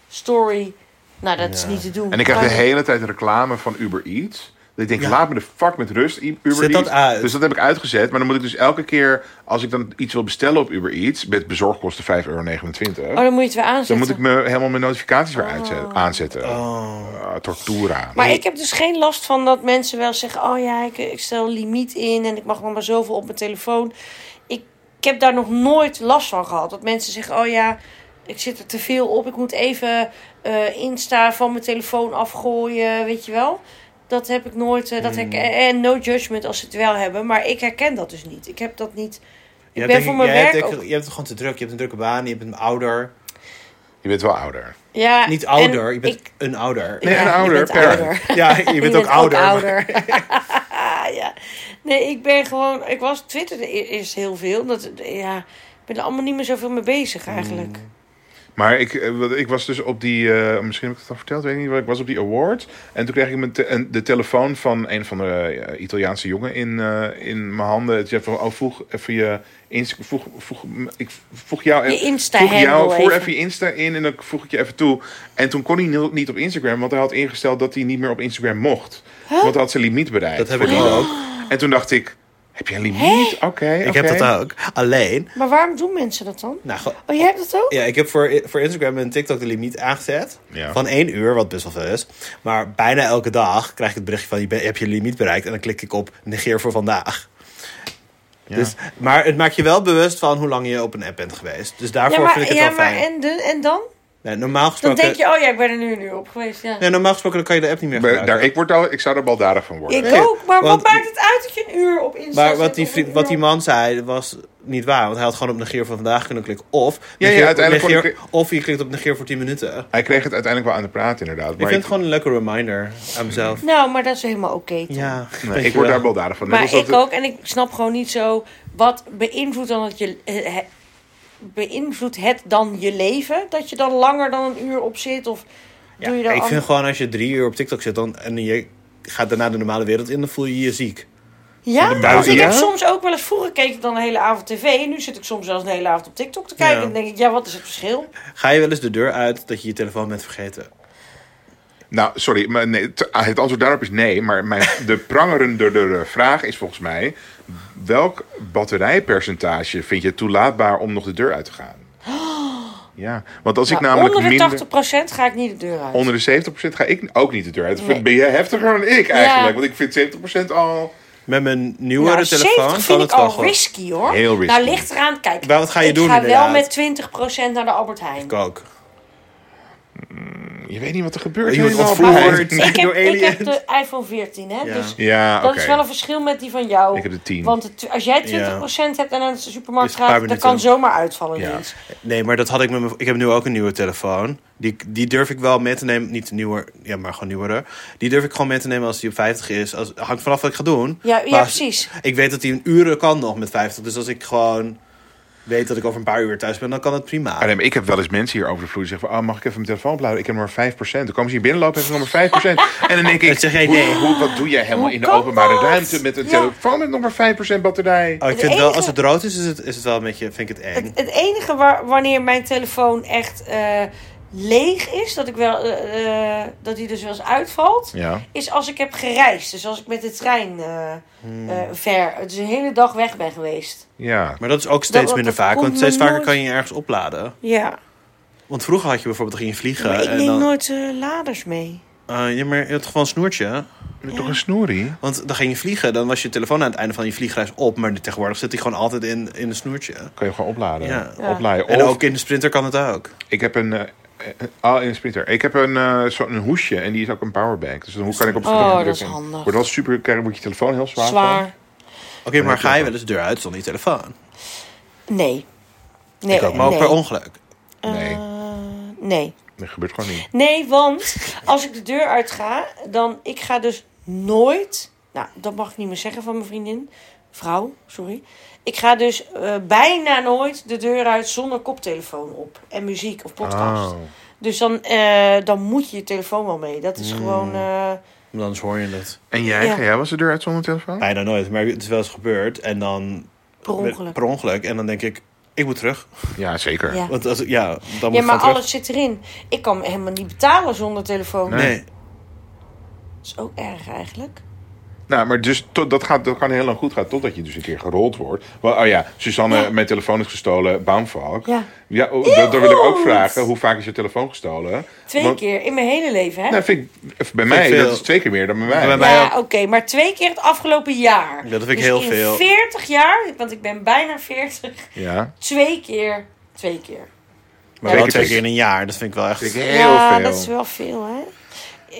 Story. Nou, dat is niet te doen. en ik krijg de Maar- hele tijd reclame van Uber Eats. Dat ik denk, laat me de fuck met rust, I- Uber Zet dat Eats. uit. Dus dat heb ik uitgezet. Maar dan moet ik dus elke keer, als ik dan iets wil bestellen op Uber Eats... met bezorgkosten 5,29 euro, Oh, dan moet je het weer aanzetten. dan moet ik me, helemaal mijn notificaties weer uitzet- aanzetten. Ah, tortura. Maar ik heb dus geen last van dat mensen wel zeggen... oh ja, ik, ik stel limiet in en ik mag nog maar zoveel op mijn telefoon. Ik, ik heb daar nog nooit last van gehad. Dat mensen zeggen, oh ja, ik zit er te veel op. Ik moet even eh, Insta van mijn telefoon afgooien, weet je wel. Dat heb ik nooit... eh, Mm. dat herken- en no judgment als ze het wel hebben. Maar ik herken dat dus niet. Ik heb dat niet... Ik Jij ben hebt denk voor mijn jij hebt werk denk ik- ook... Je hebt het gewoon te druk. Je hebt een drukke baan. Je bent ouder. Je bent wel ouder. Ja, Niet en ouder. Je bent ik- een ouder. Nee, een je ouder, bent parent. Ja, je bent ook ouder. maar- ouder. ja. Nee, ik ben gewoon... Ik was Mm. twitterde e- eerst heel veel. Dat, ja, ik ben er allemaal niet meer zoveel mee bezig eigenlijk. Maar ik, eh, wat- ik was dus op die, eh, misschien heb ik het al verteld, weet ik niet, maar ik was op die award. En toen kreeg ik mijn te- een- de telefoon van een van de eh, Italiaanse jongen in, eh, in mijn handen. Het zei van, oh, voeg even je Insta, voeg, voeg, ik voeg jou, Je Insta voeg jou handle voor even. even je Insta in en dan voeg ik je even toe. En toen kon hij ni- niet op Instagram, want hij had ingesteld dat hij niet meer op Instagram mocht. Want hij had zijn limiet bereikt. Dat heb voor ik die- ook. En toen dacht ik, heb je een limiet? Oké, Ik heb dat ook. Alleen. Maar waarom doen mensen dat dan? Nou, ge- Oh, jij hebt dat ook? Ja, ik heb voor, voor Instagram en TikTok de limiet aangezet. Ja. Van één uur, wat best wel veel is. Maar bijna elke dag krijg ik het berichtje van... Je ben- heb je limiet bereikt. En dan klik ik op negeer voor vandaag. Dus, maar het maakt je wel bewust van hoe lang je op een app bent geweest. Dus daarvoor vind ik het ja, wel maar fijn. en, de- en dan? Nee, normaal Dan gesproken... denk je, oh ja, ik ben er nu een uur op geweest. Ja. nee, normaal gesproken dan kan je de app niet meer Maar gebruiken. daar, ik, word al, ik zou er baldadig van worden. Ik Nee, ook, maar want- wat maakt het uit dat je een uur op Insta Maar zit wat die, of vriend- een wat uur die op- man zei was niet waar. Want hij had gewoon op negeer voor vandaag kunnen klikken. Of, ja, negeer- uiteindelijk negeer- kon ik- of je klikt op negeer voor 10 minuten. Hij kreeg het uiteindelijk wel aan de praat, inderdaad. Ik maar vind het gewoon een leuke reminder aan mezelf. Nou, maar dat is helemaal oké. toch? Ja, Nee, ik word daar baldadig van. Net maar dus als dat ik ook, en ik snap gewoon niet zo. Wat beïnvloedt dan dat je. eh, he- beïnvloedt het dan je leven? Dat je dan langer dan een uur op zit? Of doe je dan. ik an- vind gewoon als je drie uur op TikTok zit dan, en je gaat daarna de normale wereld in, dan voel je je ziek. ja, want ik ja? heb soms ook wel eens. Vroeger keek ik dan een hele avond tv. En nu zit ik soms zelfs een hele avond op TikTok te kijken. Ja. En dan denk ik, ja, wat is het verschil? Ga je wel eens de deur uit dat je je telefoon bent vergeten? Nou, sorry, maar nee, t- ah, het antwoord daarop is nee. Maar mijn, de prangerende vraag is volgens mij... welk batterijpercentage vind je toelaatbaar om nog de deur uit te gaan? Ja, want als ik Nou, namelijk onder de minder... 80% ga ik niet de deur uit. Onder de 70% ga ik ook niet de deur uit. Nee. Ben jij heftiger dan ik eigenlijk? Want ik vind 70% al... Met mijn nieuwere Nou, telefoon 70 vind kan ik het wel al gewoon. risky hoor. Heel risky. Nou, ligt eraan. Kijk, Maar wat ga je ik doen, ga wel inderdaad? met 20% naar de Albert Heijn. Ik ook. Je weet niet wat er gebeurt. Je wordt helemaal. ontvoerd. Ik heb, Door ik heb aliens. de iPhone 14, hè? Ja. Dus Ja, oké. dat is wel een verschil met die van jou. Ik heb de 10. Want het- als jij 20% hebt en naar de supermarkt Dus een paar gaat, dat minuten. kan zomaar uitvallen. Ja. ineens. Nee, maar dat had ik met mijn. Ik heb nu ook een nieuwe telefoon. Die, die durf ik wel mee te nemen. Niet de nieuwe, ja, maar gewoon nieuwere. Die durf ik gewoon mee te nemen als die op 50 is. Als, hangt vanaf wat ik ga doen. Ja, ja, Maar als- precies. Ik weet dat die een uren kan nog met 50. Dus als ik gewoon weet dat ik over een paar uur thuis ben, dan kan dat prima. Ah, nee, maar ik heb wel eens mensen hier over de vloer die zeggen: van, oh, Mag ik even mijn telefoon opladen? Ik heb nog maar 5%. Dan komen ze hier binnenlopen en hebben ze nog maar 5%. en dan denk ik: Dan zeg jij, nee. hoe, hoe- Wat doe jij helemaal Hoe in de kan openbare dat? ruimte met een Ja. telefoon met nog maar 5% batterij? Oh, ik Het vind wel, enige- als het rood is, is het, is het wel een beetje, vind ik het eng. Het enige waar, wanneer mijn telefoon echt eh, leeg is, dat ik wel eh, eh, dat die dus wel eens uitvalt, Ja. is als ik heb gereisd. Dus als ik met de trein eh, eh, ver, dus een hele dag weg ben geweest. Ja. Maar dat is ook steeds dat- minder dat vaak, komt want steeds me vaker nooit- kan je ergens opladen. Ja, Want vroeger had je bijvoorbeeld, dan ging je vliegen. maar ik en neem dan, nooit eh, laders mee. Eh, ja, maar je had gewoon een snoertje. Met toch een snoerie? Want dan ging je vliegen, dan was je telefoon aan het einde van je vliegreis op. Maar tegenwoordig zit hij gewoon altijd in, in een snoertje. Kan je gewoon opladen. Ja. Ja. Opladen. En Of- ook in de sprinter kan het ook. Ik heb een. eh, eh, Oh, in een sprinter. Ik heb een, eh soort, een hoesje en die is ook een powerbank. Dus dan hoe kan ik op Oh, knop dat is drukken? handig. Wordt wel super, krijg- wordt je telefoon heel zwaar. van. Zwaar. Oké, maar ga je wel eens de deur uit zonder je telefoon? Nee. Nee. Ik ook, maar ook nee. per ongeluk. Nee, Eh, nee. dat gebeurt gewoon niet. Nee, want als ik de deur uit ga, dan ik ga dus nooit. Nou, dat mag ik niet meer zeggen van mijn vriendin. Vrouw, sorry. Ik ga dus eh, bijna nooit de deur uit zonder koptelefoon op. En muziek of podcast. Oh. Dus dan, eh, dan moet je je telefoon wel mee. Dat is Hmm. gewoon. eh, Want anders hoor je het. En jij, Ja. ga jij was de deur uit zonder telefoon? Bijna nooit, maar het is wel eens gebeurd. En dan... Per ongeluk. Per ongeluk. En dan denk ik, ik moet terug. Ja, zeker. Ja. Want als, ja, dan moet ja, ik maar gewoon alles zit erin. Ik kan helemaal niet betalen zonder telefoon. terug. Nee. Dat is ook erg eigenlijk. Nou, maar dus tot, dat, gaat, dat kan heel lang goed gaan totdat je dus een keer gerold wordt. Wel, oh ja, Suzanne, Ja. mijn telefoon is gestolen, baanvalk. Ja. ja oh, dat, dat wil ik ook goed. vragen. Hoe vaak is je telefoon gestolen? Twee Want- keer in mijn hele leven, hè? Nou, vind ik, bij mij, veel. dat is twee keer meer dan bij mij. Bij mij- Ja, ook. oké, maar twee keer het afgelopen jaar. Ja, dat vind ik Dus heel in veel. 40 jaar, want ik ben bijna 40. Ja, Twee keer, twee keer. Maar Ja, wel dat twee is- keer in een jaar. Dat vind ik wel echt... vind ik heel ja, veel. dat is wel veel, hè?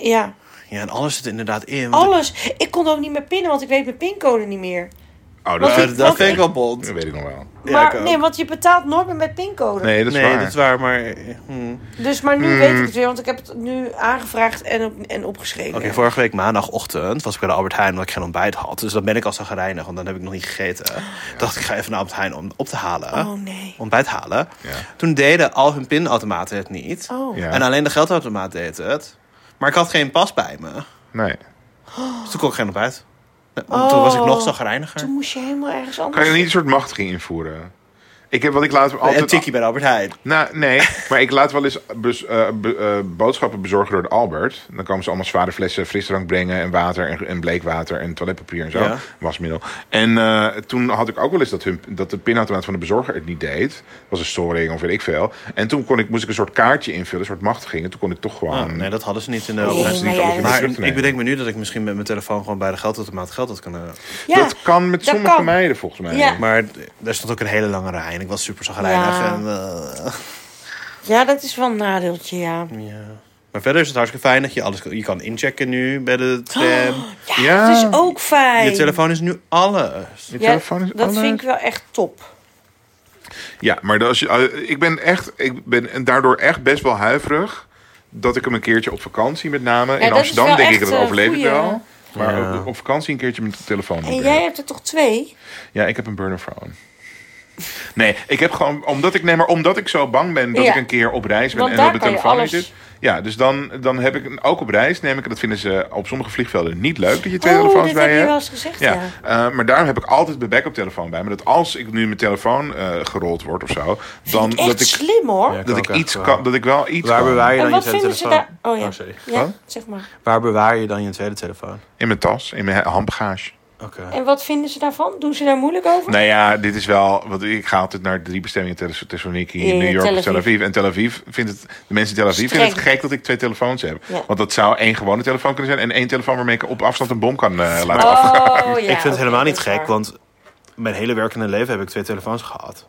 Ja, Ja, en alles zit er inderdaad in. want alles. Ik kon ook niet meer pinnen, want ik weet mijn pincode niet meer. Oh, Want dat, ik- dat, Eh, Dat, dat vind ik wel bond. weet ik nog wel. maar, ik ook. nee, want je betaalt nooit meer met pincode. Nee, dat is nee, waar. dat is waar, maar... eh, hmm. Oké, Dus, maar nu weet ik het weer, want ik heb het nu aangevraagd en, op, en opgeschreven. vorige week maandagochtend was ik bij de Albert Heijn... omdat ik geen ontbijt had. Dus dan ben ik al zagrijnig, want dan heb ik nog niet gegeten. dacht ik, ga even naar Albert Heijn om op te halen. Oh, nee. Ontbijt halen. Ja. Toen deden al hun pinautomaten het niet. Oh. Ja. En alleen de geldautomaat deed het. Maar ik had geen pas bij me. Nee. Dus toen kon ik geen ontbijt. Nee, want Toen was ik nog zagrijniger. Oh. Toen moest je helemaal ergens Kan anders. je niet een soort machtiging invoeren? Ik heb wat ik laat Een altijd... tikkie bij de Albert Heijn. Nou, nee, maar ik laat wel eens bes- eh, be- eh, boodschappen bezorgen door de Albert. Dan komen ze allemaal zware flessen frisdrank brengen en water en, en bleekwater en toiletpapier en zo, Ja. wasmiddel. En eh, toen had ik ook wel eens dat, hun, dat de pinautomaat van de bezorger het niet deed. Dat was een storing of weet ik veel. En toen kon ik, moest ik een soort kaartje invullen, een soort machtiging. En toen kon ik toch gewoon... Oh, nee, dat hadden ze niet in de Nee, Albert dat Heijn. is maar niet ja, alles dat- terug Maar te ik nemen. bedenk me nu dat ik misschien met mijn telefoon gewoon bij de geldautomaat geld had kunnen. Ja, dat kan met dat sommige kan. meiden volgens mij. Ja. Maar d- daar stond ook een hele lange rij en ik was super zagrijnig. Ja. En, eh, ja, dat is wel een nadeeltje, ja. ja. Maar verder is het hartstikke fijn dat je alles kan- je kan inchecken nu bij de tram. Oh, Ja, Ja. dat is ook fijn. Je telefoon is nu alles. Je Ja, telefoon is dat alles. vind ik wel echt top. Ja, maar dat als je, eh, ik ben echt, ik ben en daardoor echt best wel huiverig dat ik hem een keertje op vakantie met name dat in is Amsterdam wel denk ik echt, dat eh, overleef ik goeie. wel. Maar Ja. op, op vakantie een keertje met de telefoon. En op jij hebben. hebt er toch twee? Ja, ik heb een burner phone. Nee, ik heb gewoon omdat ik nee, maar omdat ik zo bang ben dat Ja. ik een keer op reis ben Want en daar dat de kan je telefoon niet alles- is. Ja, dus dan, dan heb ik een- ook op reis neem ik en dat vinden ze op sommige vliegvelden niet leuk dat je twee oh, telefoons dit bij heb je je hebt. wel eens gezegd, ja. Ja, eh, maar daarom heb ik altijd mijn backup telefoon bij me. Dat als ik nu mijn telefoon eh, gerold wordt of zo, dan Echt dat ik slim, hoor. Ja, dat kan ik ook echt iets wel. kan, dat ik wel iets Waar kan. bewaar je dan En je wat tweede vinden ze telefoon? daar... Oh ja, Oh, sorry. ja Wat? zeg maar. Waar bewaar je dan je tweede telefoon? in mijn tas, in mijn handbagage. Oké. En wat vinden ze daarvan? Doen ze daar moeilijk over? Nou ja, dit is wel, want ik ga altijd naar drie bestemmingen Thess- Thessaloniki, Ja, New York Tel of Tel Aviv. Aviv. En Tel Aviv vindt het, de mensen in Tel Aviv vinden het Streng. gek dat ik twee telefoons heb. Ja. Want dat zou één gewone telefoon kunnen zijn en één telefoon waarmee ik op afstand een bom kan eh, laten af. Oh, ja. ik vind het helemaal niet gek, want want mijn hele werkende leven heb ik twee telefoons gehad.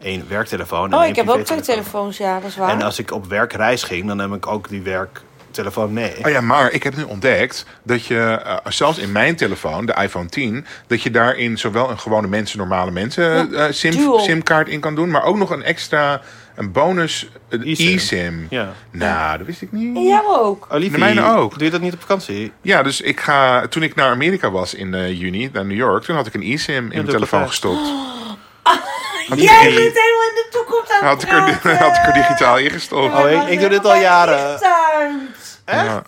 Eén werktelefoon en Oh, één ik heb ook twee privételefoon. telefoons, ja, dat is waar. En als ik op werkreis ging, dan neem ik ook die werktelefoon mee. Oh ja, maar ik heb nu ontdekt dat je, eh, zelfs in mijn telefoon, de iPhone 10, dat je daarin zowel een gewone mensen, normale mensen eh, eh, sim, dual. simkaart in kan doen, maar ook nog een extra, een bonus een eSIM. e-sim. Ja. Nou, dat wist ik niet. En jou ook. Olivia, De mijne ook. Doe je dat niet op vakantie? Ja, dus ik ga, toen ik naar Amerika was in eh, juni, naar New York, toen had ik een e-sim in mijn doe ik telefoon dat ook. gestopt. Jij bent helemaal in de toekomst aan Had het ik, er, praten. had ik er digitaal ingestopt. Oh, ik- ik doe dit al jaren. Echt?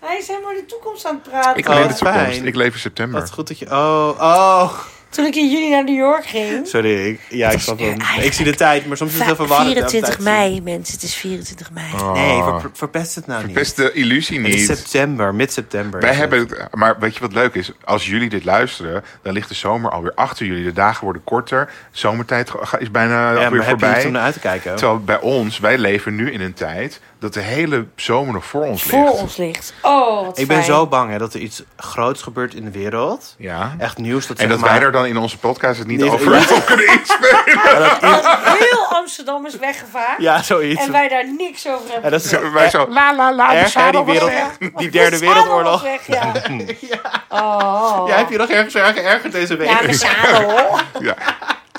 Hij is helemaal in de toekomst aan het praten. Ik Oh, leef wat de toekomst. fijn. Ik leef in Wat september. goed dat je... Oh, oh. Toen ik in juni naar New York ging. Sorry, ik, ja, ik snap hem. Ik zie de tijd, maar soms is het heel verwarrend. hè, op 24 tijd zien. mei, mensen. Het is 24 mei. Oh. Nee, ver, verpest het nou niet. Best de illusie Het is niet. september, mid-september. Wij is het. hebben, het- maar weet je wat leuk is? Als jullie dit luisteren, dan ligt de zomer alweer achter jullie. De dagen worden korter. Zomertijd ge- is bijna Ja, alweer maar heb je voorbij. iets om naar uit te kijken? Terwijl bij ons, wij leven nu in een tijd dat de hele zomer nog voor ons Voor ligt. ons ligt. Oh, wat Ik ben fijn. zo bang hè, dat er iets groots gebeurt in de wereld. Ja. Echt nieuws dat En zeg dat maar, wij er dan in onze podcast het niet Niet- over over kunnen inspelen. Heel Amsterdam is weggevaagd. Ja, zoiets. En wij daar niks over hebben. En dat is Wij zo, la la la, erg hè, die, wereld, die derde wereldoorlog. De zadel was Weg, ja. Oh. Ja, heb je nog ergens erg geërgerd deze week? Ja, mijn zadel. Ja.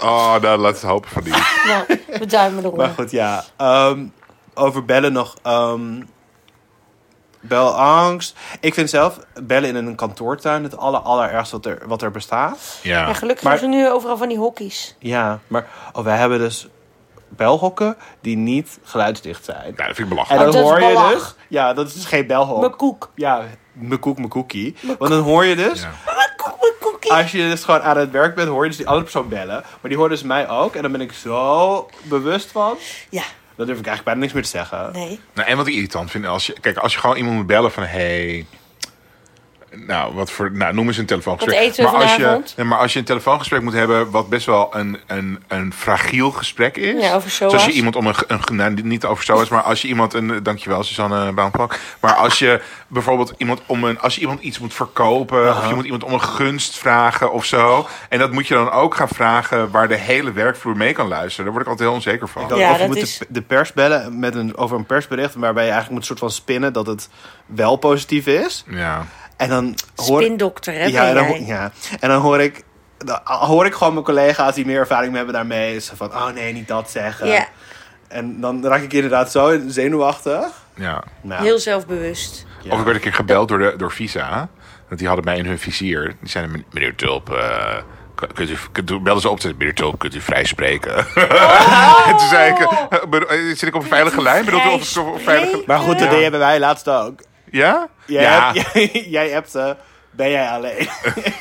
Oh, nou, laten we hopen van die. Nou, we duimen erop. Maar goed, ja. Ehm, over bellen nog. ehm belangst. Ik vind zelf bellen in een kantoortuin het aller, allerergste wat er, wat er bestaat. Ja, Ja. gelukkig Maar- hebben ze nu overal van die hokkies. Ja, maar oh, wij hebben dus belhokken die niet geluidsdicht zijn. Nou, dat vind ik En belachelijk. dan Oh, dat is hoor je belach. dus... Ja, dat is dus geen belhok. Mijn koek. Ja, mijn koek, mijn koekie. Want dan hoor je dus... Ja. Mijn koek, mijn koekie. Als je dus gewoon aan het werk bent, hoor je dus die andere persoon bellen. Maar die hoort dus mij ook. En dan ben ik zo bewust van. Ja, Dan durf ik eigenlijk bijna niks meer te zeggen. nee. Nou, en wat ik irritant vind, als je, kijk, als je gewoon iemand moet bellen van hey, nou, wat voor, nou, noem eens een telefoongesprek. Wat eten we maar, als je, vanavond? nee, maar als je een telefoongesprek moet hebben, wat best wel een, een, een fragiel gesprek is. Ja, over Zoals SOAS. je iemand om een, een nou, niet over zoals, maar als je iemand een, eh, dankjewel Suzanne Baanpak, maar als je bijvoorbeeld iemand om een, als je iemand iets moet verkopen, of je moet iemand om een gunst vragen of zo, en dat moet je dan ook gaan vragen waar de hele werkvloer mee kan luisteren, daar word ik altijd heel onzeker van. Dan- Ja, of je dat moet is- de, de pers bellen met een, over een persbericht... waarbij je eigenlijk moet soort van spinnen dat het wel positief is. Ja. En dan hoor Spindokter, hè, ja, ben en dan, jij. ho- ja, en dan hoor ik dan hoor ik gewoon mijn collega's die meer ervaring hebben daarmee. Is van, oh nee, niet dat zeggen. Ja. En dan raak ik inderdaad zo zenuwachtig. Ja. Nou, Heel zelfbewust. Of ik werd een keer gebeld door, de, door Visa. Want die hadden mij in hun vizier. Die zeiden, meneer Tulp, eh, k- kunt u, kunt u, belden ze op te meneer Tulp, kunt u vrij spreken? en toen zei ik, Oh. eh, bedo- eh, zit ik op een veilige lijn? Bedoel, of ik op een veilige... maar goed, dat hebben wij laatst ook. Ja? Jij, ja. hebt, jij, jij hebt ze, ben jij alleen?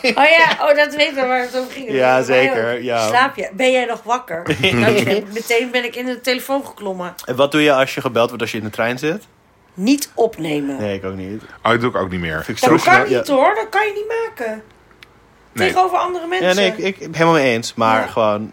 Oh ja, oh, dat weet ik wel waar het over ging. Ja, Bij zeker, mij ook. ja. Slaap je? Ben jij nog wakker? Nou, je- meteen ben ik in de telefoon geklommen. en wat doe je als je gebeld wordt als je in de trein zit? Niet opnemen. Nee, ik ook niet. Oh, dat doe ik ook niet meer. Vind ik zo Dat kan snel. niet Ja, hoor, dat kan je niet maken. Nee. Tegenover andere mensen. ja nee, ik, ik ben helemaal mee eens. Maar Ja. gewoon,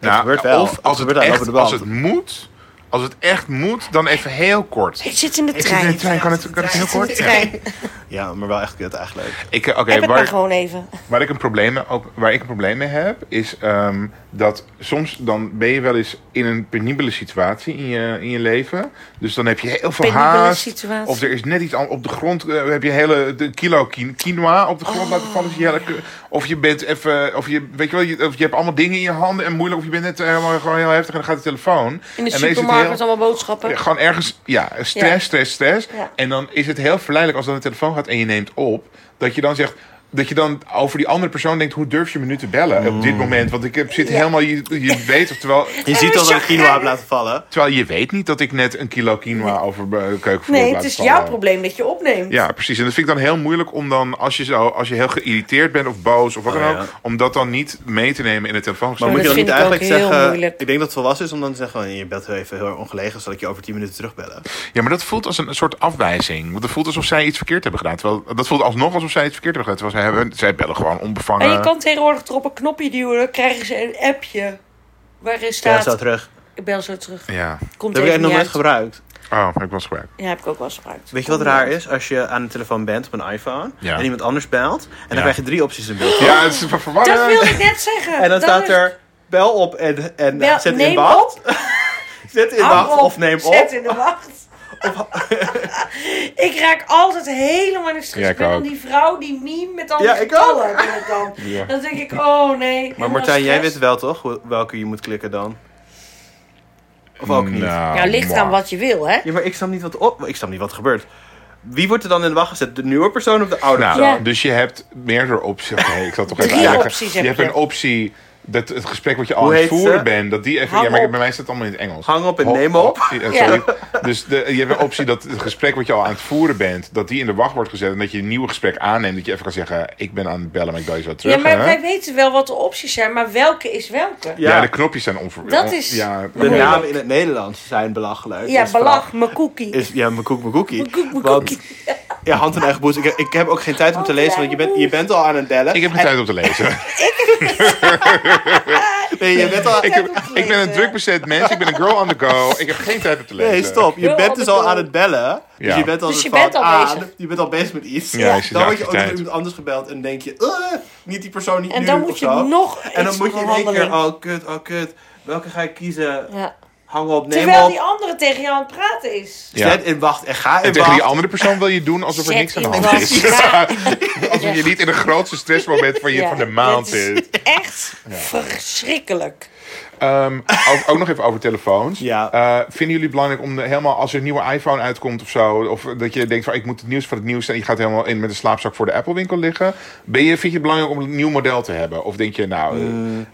Nou, gebeurt wel. Of Het als het, gebeurt aan echt- lopende band. als het moet, als het echt moet, dan even heel kort. Ik zit in de Ik zit in de trein. trein, kan het, kan het heel Ik zit in de kort? Ja. trein. ja, maar wel echt kut eigenlijk. Ik, eh, oké, Heb het maar waar, gewoon even. waar, ik een probleem, mee- ook, waar ik een probleem mee heb, is ehm, dat soms dan ben je wel eens in een penibele situatie in je, in je leven. Dus dan heb je heel veel Penibele haast. situatie. Of er is net iets aan op de grond. eh, heb je hele de kilo qui- quinoa op de Oh. grond laten vallen. Dus je hele- of je bent even, of je, weet je wel, je, of je hebt allemaal dingen in je handen en moeilijk. Of je bent net eh, helemaal gewoon heel heftig en dan gaat de telefoon. In de En dan is het heel- supermarkt allemaal boodschappen. Ja, Gewoon ergens, ja, stress, Ja. stress, stress. Ja. En dan is het heel verleidelijk als dan de telefoon gaat en je neemt op, dat je dan zegt. Dat je dan over die andere persoon denkt: hoe durf je me nu te bellen op Mm. dit moment? Want ik heb- zit helemaal, je, je weet, of terwijl, Je ziet we al dat ik zagen- quinoa heb laten vallen. terwijl je weet niet dat ik net een kilo quinoa over de keukenvloer heb Nee, het laten is vallen. jouw probleem dat je opneemt. Ja, precies. En dat vind ik dan heel moeilijk om dan, als je, zo, als je heel geïrriteerd bent of boos of wat dan Oh, ook, ja. om dat dan niet mee te nemen in het Maar telefoongesprek. dat moet je dan vind niet ik ook eigenlijk heel zeggen... moeilijk. Ik denk dat het volwassen is om dan te zeggen... van, je bent even heel erg ongelegen, zal ik je over 10 minuten terugbellen. Ja, maar dat voelt als een soort afwijzing. Want dat voelt alsof zij iets verkeerd hebben gedaan. Terwijl, dat voelt alsnog alsof zij iets verkeerd hebben gedaan. Terwijl zij, hebben, zij bellen gewoon onbevangen. En je kan tegenwoordig erop een knopje duwen, dan krijgen ze een appje. Waarin Ja, staat, zo terug. ik bel zo terug. Ja. Komt Dat heb ik even echt niet nog nooit uit. gebruikt. Oh, heb ik was gebruikt. Ja, heb ik ook wel eens gebruikt. Weet je wat raar is? Als je aan de telefoon bent op een iPhone... Ja. en iemand anders belt... en dan Ja. krijg je drie opties in beeld. Ja, het is ver- Dat verwarrend. wilde ik net zeggen. En dan Dat staat is- er... bel op en, en Bel- zet in neem wacht. zet in Hang wacht op, of neem Zet op. in de wacht. ik raak altijd helemaal in stress. Ja, ik ik ben dan ook. die vrouw, die meme met al die Ja, ik getallen. ben ik Dan. dan denk ik, oh nee. Maar helemaal Martijn, jij stress. weet wel toch hoe- welke je moet klikken dan? Of ook niet? Nou, ligt aan wat je wil, hè? Ja, maar ik snap niet wat op. Ik snap niet wat er gebeurt. Wie wordt er dan in de wacht gezet? De nieuwe persoon of de oude Nou, persoon? Ja. dus je hebt meerdere opties. Oké, ik zal toch Drie even uitleggen. opties je. heb hebt je. een optie dat het gesprek wat je al Hoe aan het heet voeren ze? bent, dat die even. Hang ja, maar op. bij mij staat het allemaal in het Engels. Hang op en Ho- neem op. optie- eh, Ja. sorry. Dus de, je hebt een optie dat het gesprek wat je al aan het voeren bent, dat die in de wacht wordt gezet en dat je een nieuw gesprek aanneemt. Dat je even kan zeggen: ik ben aan het bellen, maar ik bel je zo terug. Ja, maar hè? wij weten wel wat de opties zijn, maar welke is welke? Ja. Ja, de knopjes zijn onver... Dat is- Ja, De namen in het Nederlands zijn belachelijk. Ja, Is vooral- belach, mijn cookie. Is, ja, mijn koek, mijn koekie. Mijn koek, mijn Want- cookie. Ja, hand in eigen boezem. Ik, ik heb ook geen tijd om te Hand in lezen, want je eigen bent, je bent al aan het bellen. ik heb geen tijd om te lezen. Nee, je bent al... ik, heb, tijd om te ik ben een lezen. druk bezet mens. Ik ben een girl on the go. Ik heb geen tijd om te lezen. Nee, stop. Je Heel bent dus al andere aan het bellen. Dus Ja. je bent al, Dus een je fout bent al aan. bezig. Je bent al bezig met iets. Ja, is het dan word je ook activiteit. door iemand anders gebeld en denk je... "Eh, niet die persoon niet En nu dan of moet je zo." nog En dan iets moet je in één keer... onderhandelen. Oh, kut, oh, kut. Welke ga ik kiezen? Ja. Hang op, neem Terwijl op. die andere tegen jou aan het praten is. Ja. Zet in wacht en ga in En tegen die wacht. andere persoon wil je doen alsof er Zet niks aan de in hand wacht. is. Ja. alsof je niet in het grootste stressmoment van, je, Ja, van de maand dit is zit. Echt verschrikkelijk. Ehm, ook, ook nog even over telefoons. Ja. Eh, vinden jullie belangrijk om de- helemaal als er een nieuwe iPhone uitkomt of zo, of dat je denkt van ik moet het nieuws van het nieuws en je gaat helemaal in met een slaapzak voor de Apple winkel liggen. Ben je, vind je het belangrijk om een nieuw model te hebben? Of denk je nou,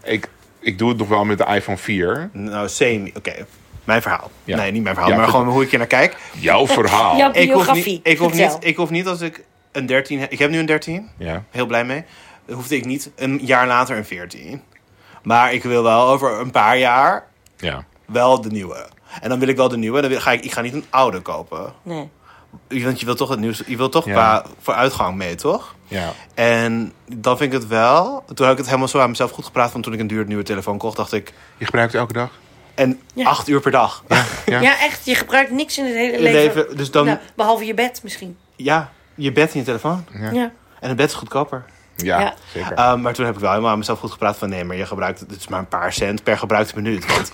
eh, ik, ik doe het nog wel met de iPhone 4. Nou, same. Oké. Mijn verhaal. Ja. Nee, niet mijn verhaal, Ja, maar vertel. gewoon hoe ik er naar kijk. Jouw verhaal. Jouw Ik hoef, biografie. niet, ik, hoef niet, Vertel. ik hoef niet als ik een 13 heb. Ik heb nu een 13. Ja. Heel blij mee. Dan hoefde ik niet een jaar later een 14. Maar ik wil wel over een paar jaar Ja. wel de nieuwe. En dan wil ik wel de nieuwe. Dan wil- ga ik, ik ga niet een oude kopen. Nee. Want je wil toch het nieuws. Je wil toch Ja. qua vooruitgang mee, toch? Ja. En dan vind ik het wel. Toen heb ik het helemaal zo aan mezelf goed gepraat. Want toen ik een duur nieuwe telefoon kocht, dacht ik. Je gebruikt het elke dag? En Ja. acht uur per dag. Ja. Ja. echt. Je gebruikt niks in het hele Je leven. leven, dus dan- Nou, behalve je bed misschien. Ja, je bed en je telefoon. Ja. En het bed is goedkoper. Ja, Ja. zeker. Eh, maar toen heb ik wel helemaal aan mezelf goed gepraat van nee, maar je gebruikt het is maar een paar cent per gebruikte minuut. Want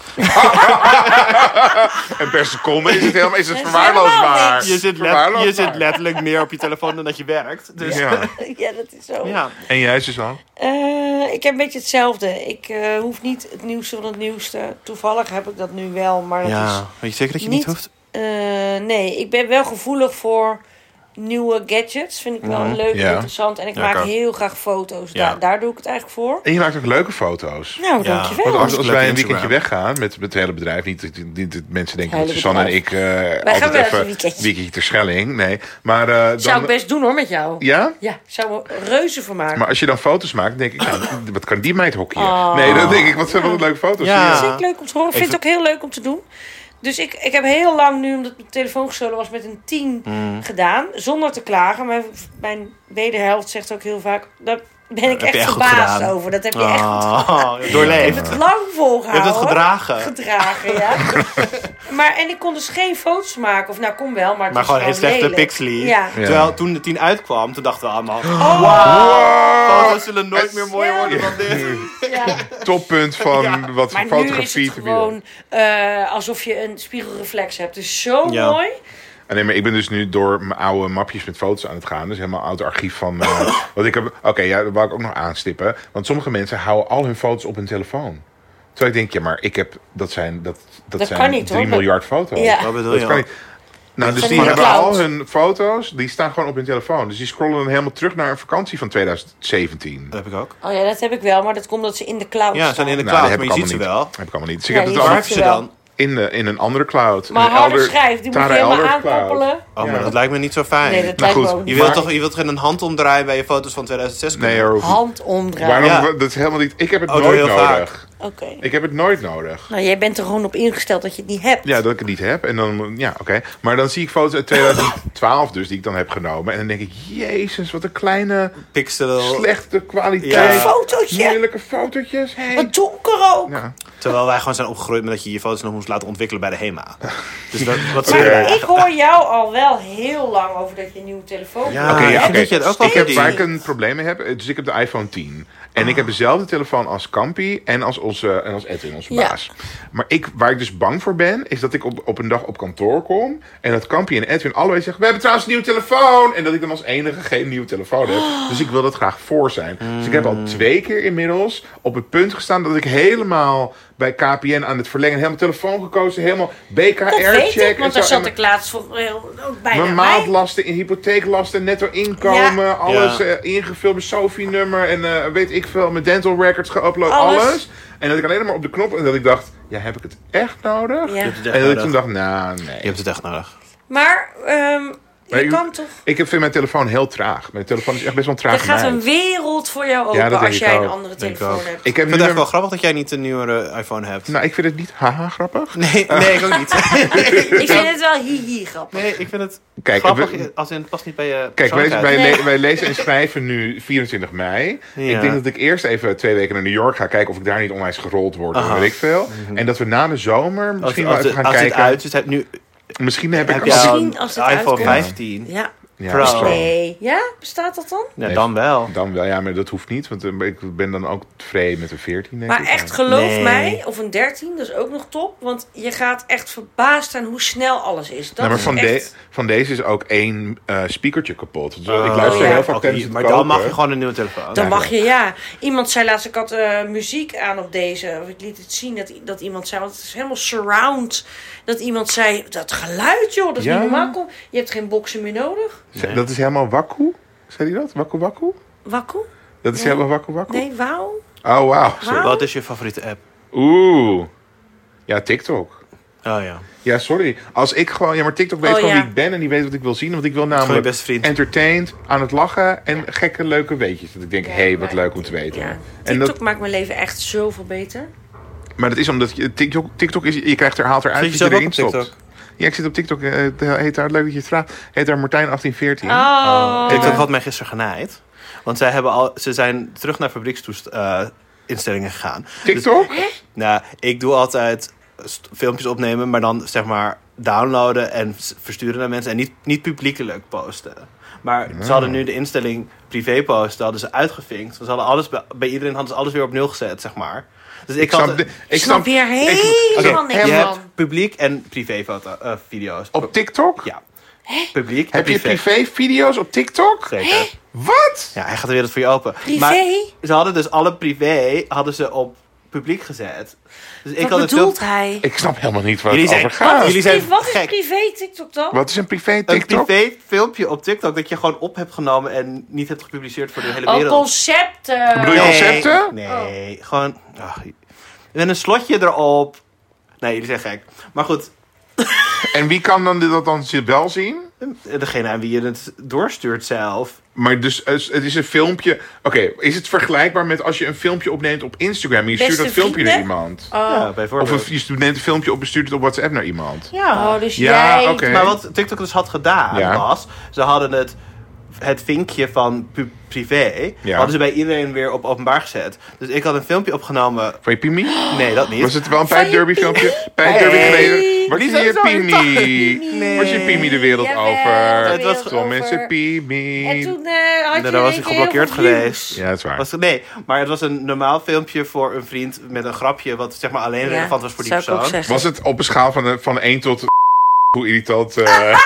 en per seconde is het helemaal is het Het is helemaal verwaarloosbaar. niks. je zit, let- je Verwaarloosbaar. zit letterlijk meer op je telefoon dan dat je werkt. Dus ja. Ja. Ja, dat is zo. En jij, Suzanne? Eh, ik heb een beetje hetzelfde. Ik eh, hoef niet het nieuwste van het nieuwste. Toevallig heb ik dat nu wel, maar dat is Ja. Weet je zeker dat je het niet Niet- hoeft? Eh, nee, ik ben wel gevoelig voor nieuwe gadgets. Vind ik wel leuk en Ja. interessant. En ik Ja, ik maak ook. heel graag foto's. Ja. Da- daar doe ik het eigenlijk voor. En je maakt ook leuke foto's. Nou, Ja. dankjewel. Want als, Hartstikke als leuk wij een Instagram. weekendje weggaan met, met het hele bedrijf, niet dat, niet dat mensen denken dat Hele Suzanne en ik bedrijf. eh, gaan altijd wel even een weekendje. weekendje ter Schelling. Nee, maar eh, dan, Zou ik best doen hoor met jou. ja. Ja, zou me reuze van maken. Maar als je dan foto's maakt, denk ik, nou, wat kan die meid hockeyen? Oh. Nee, dan denk ik, wat zijn wat leuke foto's. Ja. hier. Dat vind ik leuk om te horen. Ik vind het ook heel leuk om te doen. Dus ik, ik heb heel lang nu, omdat mijn telefoon gestolen was, met een 10 Mm. gedaan. Zonder te klagen. Mijn, mijn wederhelft zegt ook heel vaak... Daar ben ik heb je echt echt goed verbaasd gedaan. over. Dat heb je echt goed Oh, doorleefd. lang volgehouden. Je hebt het gedragen. Gedragen, ja. maar, en ik kon dus geen foto's maken. Of nou, kon wel, maar het was Maar gewoon een slechte lelijk. pixelie. Ja. Ja. Terwijl toen de 10 uitkwam, toen dachten we allemaal... Oh, Foto's zullen nooit meer mooier Ja. worden dan dit. ja. Toppunt van wat Maar nu is fotografie het te bieden. gewoon eh, alsof je een spiegelreflex hebt. Dus zo Ja. mooi. Ah, Nee, maar ik ben dus nu door mijn oude mapjes met foto's aan het gaan. Dus helemaal oud archief van. eh wat ik heb. Oké, ja, dat wou ik ook nog aanstippen. Want sommige mensen houden al hun foto's op hun telefoon. Terwijl ik denk, ja, maar ik heb. Dat zijn, dat, dat Dat zijn kan niet, 3 hoor. miljard foto's. Ja. Wat bedoel Dat je? kan niet. Nou, dus van die die hebben cloud. al hun foto's, die staan gewoon op hun telefoon. Dus die scrollen dan helemaal terug naar een vakantie van 2017. Dat heb ik ook. Oh ja, dat heb ik wel, maar dat komt dat ze in de cloud Ja, ze staan. zijn in de Nou, cloud, dat heb maar ik je ziet allemaal ze niet. wel. Heb ik allemaal niet. Dus ik Nee, heb het die Waar allemaal heb je ze dan? in, de, in een andere cloud. Maar in een harder elder- schijf, die moet je Tara helemaal Elder cloud. aankoppelen. Oh, maar Ja. dat lijkt me niet zo fijn. Nee, dat Nou lijkt me goed, ook Je niet. wilt Maar- toch je wilt geen een hand omdraaien bij je foto's van 2006? Nee, hoor. hoef niet. Hand omdraaien. Waarom? Ja. Dat is helemaal niet. Ik heb het Oh, doe nooit heel nodig. vaak. Oké. Ik heb het nooit nodig. Nou, jij bent er gewoon op ingesteld dat je het niet hebt. Ja, dat ik het niet heb. En dan, ja, oké. Maar dan zie ik foto's uit 2012 dus, die ik dan heb genomen. En dan denk ik, jezus, wat een kleine, Pixel. slechte kwaliteit. Oh. Ja. Fotootje. Lelijke fotootjes. Hey. Wat donker ook. Ja. Terwijl wij gewoon zijn opgegroeid met dat je je foto's nog moest laten ontwikkelen bij de HEMA. Dus dat, wat Maar zeg jij? ik hoor jou al wel heel lang over dat je een nieuwe telefoon Ja, hebt. Oké, ik ja, vind oké. dat je het ook wel ik heb, verdient. waar ik een probleem mee heb, eh, dus ik heb de iPhone 10. En Ah. ik heb dezelfde telefoon als Campy en als, onze, en als Edwin, onze Ja. baas. Maar ik, waar ik dus bang voor ben, is dat ik op, op een dag op kantoor kom... en dat Campy en Edwin allebei zeggen, we hebben trouwens een nieuwe telefoon! En dat ik dan als enige geen nieuwe telefoon heb. Dus ik wil dat graag voor zijn. Dus ik heb Mm. al twee keer inmiddels op het punt gestaan... dat ik helemaal bij KPN aan het verlengen, helemaal telefoon gekozen... helemaal Dat weet BKR-check ik, want daar zat ik laatst voor heel, ook bijna mijn bij. maandlasten, in hypotheeklasten, netto inkomen, Ja. alles Ja. eh, ingevuld, mijn Sophie-nummer en eh, weet ik veel, mijn dental records geüpload, Alles. alles. En dat ik alleen maar op de knop en dat ik dacht, ja, heb ik het echt nodig? Ja. Je hebt het echt En dat ik nodig. toen dacht, nou, Je nee. hebt het echt nodig. Maar ehm, Maar je u- kan toch... Ik heb- vind mijn telefoon heel traag. Mijn telefoon is echt best wel een Er traag gaat een meid. wereld voor jou Ja, open dat denk als ik jij een ook. andere Denk ik telefoon ook. hebt. Ik heb Ik nu vind het echt een- wel grappig dat jij niet een nieuwere iPhone hebt. Nou, ik vind het niet haha grappig. Nee, nee, ik ook niet. Ik vind het wel hihi grappig. Nee, ik vind het Kijk, grappig we- als in het past niet bij je Kijk, wij, persoonlijkheid. wij, Nee. le- wij lezen en schrijven nu 24 mei. Ja. Ik denk dat ik eerst even twee weken naar New York ga kijken of ik daar niet onwijs gerold word. Aha. Mhm. Of weet ik veel. En dat we na de zomer Als, misschien als, wel de- even gaan als het kijken. uit is, heb, nu Misschien heb ik heb al- je Misschien al een als het iPhone uitkomt. 15. Ja, Ja, Pro. dat is wel- nee. Ja, bestaat dat dan? Ja, dan wel. Dan wel, ja, maar dat hoeft niet. Want eh, ik ben dan ook tevreden met een 14. Denk Maar ik. echt, geloof Nee. mij, of een 13, dat is ook nog top. Want je gaat echt verbaasd zijn hoe snel alles is. Dat Nou, maar is van, echt... de- van deze is ook één eh speakertje kapot. Dus ik Oh, luister ja. heel vaak Oké, tijdens het Maar koken. dan mag je gewoon een nieuwe telefoon. Dan Ja, mag je, ja. Iemand zei laatst, ik had eh, muziek aan op deze. Of ik liet het zien dat, i- dat iemand zei, want het is helemaal surround. Dat iemand zei, dat geluid joh, dat is Ja. niet normaal. Kom, Je hebt geen boksen meer nodig. Ze- Dat is helemaal wakku. Zei hij dat? Wakku wakku? Wakkoe? Dat is Nee. helemaal wakku wakku? Nee, wauw. Oh, wauw. Sorry. Wauw. Wat is je favoriete app? Oeh. Ja, TikTok. Oh ja. Ja, sorry. Als ik gewoon... Ja, maar TikTok weet Oh, gewoon ja. wie ik ben en die weet wat ik wil zien. Want ik wil Gewoon je namelijk beste vriend. entertained, aan het lachen en gekke leuke weetjes. Dat ik denk, Ja, hé, hey, wat maar- leuk om te weten. Ja, en TikTok dat, maakt mijn leven echt zoveel beter. maar dat is omdat je, TikTok, TikTok is, je krijgt er haalt eruit Zit je wat zelf je ook erin op stopt. TikTok? Ja, ik zit op TikTok. eh, Het heet daar, leuk dat je het vraagt, heet daar Martijn1814. Oh. TikTok eh, had mij gisteren genaaid. Want zij hebben al, ze zijn terug naar fabrieksinstellingen gegaan. TikTok? Dus, nou, ik doe altijd st- filmpjes opnemen, maar dan zeg maar downloaden en s- versturen naar mensen. En niet, niet publiekelijk posten. Maar Ah. ze hadden nu de instelling privéposten hadden ze uitgevinkt. Want Ze hadden alles, bij, bij iedereen hadden ze alles weer op nul gezet, zeg maar. Dus ik, Ik had... snap, de- ik Ik snap snap hier Oké, helemaal niks je van. hebt publiek en privéfoto, eh, video's. op TikTok? Ja. Publiek en Heb je privé-video's op TikTok? Zeker. Wat? Ja, hij gaat er weer het voor je open. Privé? Maar ze hadden dus alle privé hadden ze op publiek gezet. Dus ik Wat had bedoelt het heel... hij? Ik snap helemaal niet waar Jullie het zijn- over gaat. jullie zijn Privé- Wat is gek. privé TikTok dan? Wat is een Een privé-TikTok? privé filmpje op TikTok dat je gewoon op hebt genomen en niet hebt gepubliceerd voor de hele Oh, wereld. concepten. bedoel je Nee, concepten? Nee, gewoon... ach, met een slotje erop. Nee, jullie zijn gek. Maar goed, En wie kan dan dit- dat dan wel zien? eh, degene aan wie je het doorstuurt zelf. Maar dus, het is een filmpje. Oké, is het vergelijkbaar met als je een filmpje opneemt op Instagram en je stuurt Beste dat filmpje naar vrienden? iemand? Ja, Of bijvoorbeeld. een- je stuurt- neemt een filmpje op en stuurt het op WhatsApp naar iemand? ja. Oh, dus Ja, jij... oké. Maar wat TikTok dus had gedaan Ja. was, ze hadden het, het vinkje van pu- privé, Ja. hadden ze bij iedereen weer op openbaar gezet. Dus ik had een filmpje opgenomen. Van je Pimi? Nee, dat niet. Was het wel een Van je pijpderby Pimi? filmpje? Pijpderby Nee. geleden? Was Die je zijn je zo Pimi? irritant. Nee. Was je Pimi de wereld Jawel, over? de Het was wereld Tom is over. een Pimi. En toen eh, had je Nee, in dan was één ik keer geblokkeerd heel veel views. geweest. Ja, dat is waar. Was, nee, maar het was een normaal filmpje voor een vriend met een grapje, wat zeg maar alleen Ja, relevant was voor die zou ik ook persoon. zeggen. Was het op een schaal van, eh, van 1 tot hoe irritant? Oh, eh,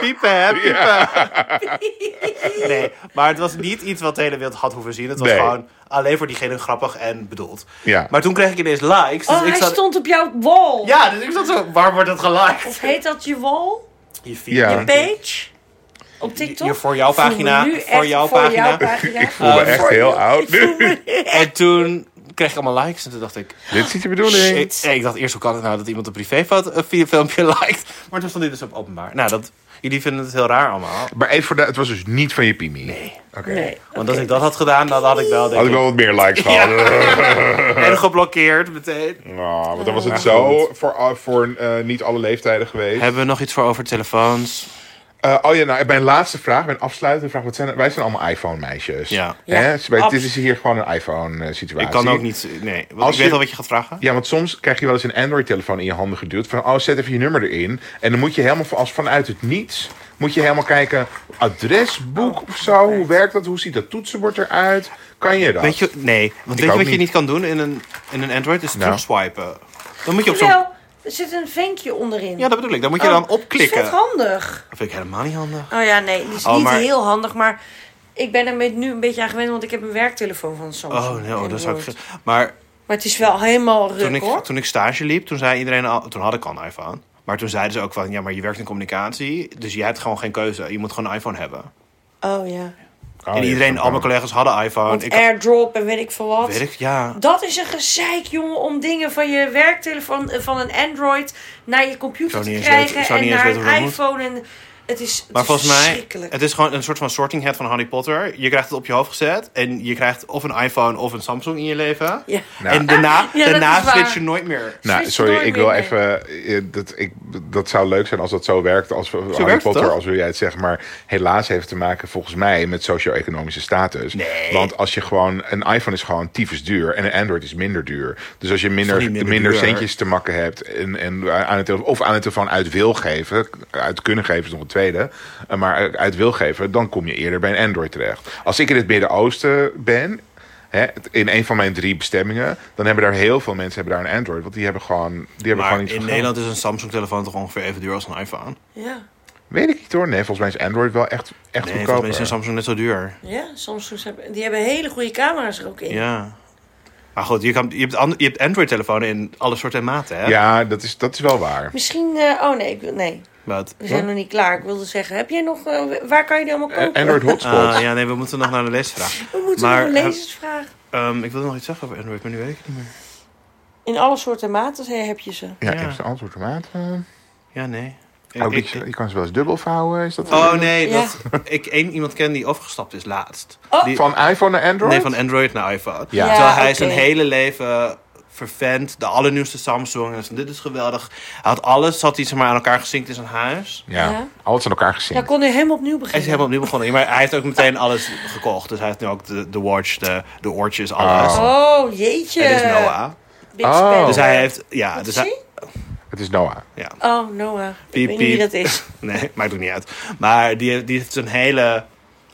Piepen, hè? Piepen. nee, maar het was niet iets wat de hele wereld had hoeven zien. Het was Nee. gewoon alleen voor diegene grappig en bedoeld. Ja. Maar toen kreeg ik ineens likes. Dus Oh, ik hij zat... stond op jouw wall. Ja, dus ik zat zo, waar wordt het geliked? Of heet dat je wall? Je feed, Ja. denk Je ik. page? Op TikTok? Je voor jouw Voel me pagina, nu voor echt jouw voor pagina. jouw pagina. Oh. ik voel me Eh, echt heel oud nu. En toen kreeg ik allemaal likes en toen dacht ik... Dit is niet de bedoeling. Ik, ik dacht eerst, hoe kan het nou dat iemand een privéfoto een vi- filmpje liked? Maar toen stond dit dus op openbaar. Nou, dat, jullie vinden het heel raar allemaal. Maar even voor de, het was dus niet van je Pimi. Nee. Oké. Nee. Want als ik dat had gedaan, dan had ik wel, Had denk ik ik, wel wat meer likes gehad. en geblokkeerd meteen. Nou, want dan was het zo voor, al- voor eh, niet alle leeftijden geweest. Hebben we nog iets voor over telefoons? Eh, oh ja, nou, mijn laatste vraag, mijn afsluitende vraag. Wat zijn, wij zijn allemaal iPhone-meisjes. Ja. Hè? Ja, Dus bij- dit absoluut. is hier gewoon een iPhone-situatie. Ik kan ook niet... Nee, want Als ik je- weet al wat je gaat vragen. Ja, want soms krijg je wel eens een Android-telefoon in je handen geduwd. Van, oh, zet even je nummer erin. En dan moet je helemaal van- als vanuit het niets... moet je helemaal kijken, adresboek of zo. Hoe werkt dat? Hoe ziet dat toetsenbord eruit? Kan je dat? Weet je, nee, want weet ook je wat je niet. niet kan doen in een, in een Android? Is Nou. terugswipen. Dan moet je op zo'n... Jawel, er zit een vinkje onderin. Ja, dat bedoel ik. Dan moet je Oh, dan Dat is opklikken. vet handig. Dat vind ik helemaal niet handig. Oh ja, nee, die is Oh, niet maar- heel handig, maar ik ben er met- nu een beetje aan gewend, want ik heb een werktelefoon van Samsung. Oh, nee, oh, dat zou ik... Android. ge- Maar Maar het is wel helemaal ruk, toen ik, hoor. toen ik stage liep, toen zei iedereen al... Toen had ik al een iPhone. Maar toen zeiden ze ook van... Ja, maar je werkt in communicatie, dus je hebt gewoon geen keuze. Je moet gewoon een iPhone hebben. Oh ja. Oh, en ja, iedereen, dat al mijn kan. collega's hadden iPhone. Want ik had- airdrop en weet ik veel wat. weet ik, ja. Dat is een gezeik, jongen, om dingen van je werktelefoon, eh, van een Android naar je computer Zou te niet eens krijgen weten- zou en niet eens naar weten hoe een dat iPhone. En het is, het Maar is volgens mij, verschrikkelijk. het is gewoon een soort van sorting hat van Harry Potter. Je krijgt het op je hoofd gezet en je krijgt of een iPhone of een Samsung in je leven. Ja. Nou. En daarna, Ja, dat daarna is waar. switch je nooit meer. Nou, Switch sorry, nooit ik meer wil mee. even... eh, Dat, ik, dat zou leuk zijn als dat zo werkt. Als we- Harry werkt het Potter, toch? als wil jij het zeggen. Maar helaas heeft het te maken volgens mij met socio-economische status. Nee. Want als je gewoon... Een iPhone is gewoon tyfus duur. En een Android is minder duur. Dus als je minder, Is toch niet minder, minder duur? centjes te makken hebt... En, en aan het, tele- of aan het telefoon uit wil geven... Uit kunnen geven is nog een tweede. eh, Maar uit wil geven... Dan kom je eerder bij een Android terecht. Als ik in het Midden-Oosten ben... Hè, in een van mijn drie bestemmingen, dan hebben daar heel veel mensen hebben daar een Android. Want die hebben gewoon, die hebben Maar gewoon in iets van geld. Nederland is een Samsung-telefoon toch ongeveer even duur als een iPhone? Ja. Weet ik niet hoor. Nee, volgens mij is Android wel echt, echt Nee, volgens mij goedkoper. is een Samsung net zo duur. ja, Samsung hebben, die hebben hele goede camera's er ook in. Ja. Maar goed, je, kan, je hebt, an- je hebt Android-telefonen in alle soorten en maten, hè? Ja, dat is, dat is wel waar. Misschien, eh, oh nee, ik wil- nee, Wat? we zijn nog niet klaar. Ik wilde zeggen, heb jij nog, eh, waar kan je die allemaal kopen? Android hotspot. Ah, ja, nee, we moeten nog naar de leesvraag. We moeten Maar, nog een lezersvraag. Ehm, ik wilde nog iets zeggen over Android, maar nu weet ik het niet meer. In alle soorten maten hè, heb je ze. ja, ja. eerste antwoord maat. Ja, nee. Ik- Oh, ik- die- je kan ze wel eens dubbel vouwen. Is dat oh nee, Ja. dat, ik één iemand ken die afgestapt is laatst. Oh. Die- Van iPhone naar Android? nee, van Android naar iPhone. Ja. Terwijl hij oké. zijn hele leven vervent, de allernieuwste Samsung. En dit is geweldig. Hij had alles, zat hij zeg maar, aan elkaar gezinkt in zijn huis. Ja, Ja. alles aan elkaar gezien. Dan kon hij helemaal opnieuw Hij is beginnen. helemaal opnieuw begonnen. Maar hij heeft ook meteen alles gekocht. Dus hij heeft nu ook de, de watch, de, de oortjes, alles. Oh. Oh, jeetje. Het is Noah. Big Oh. spender. Dus hij heeft... Ja, Wat dus is hij, hij? Het is Noah. Ja. Oh, Noah. Ik Piep, weet niet wie piep. dat is. Nee, maakt ook niet uit. Maar die, heeft- die heeft zijn hele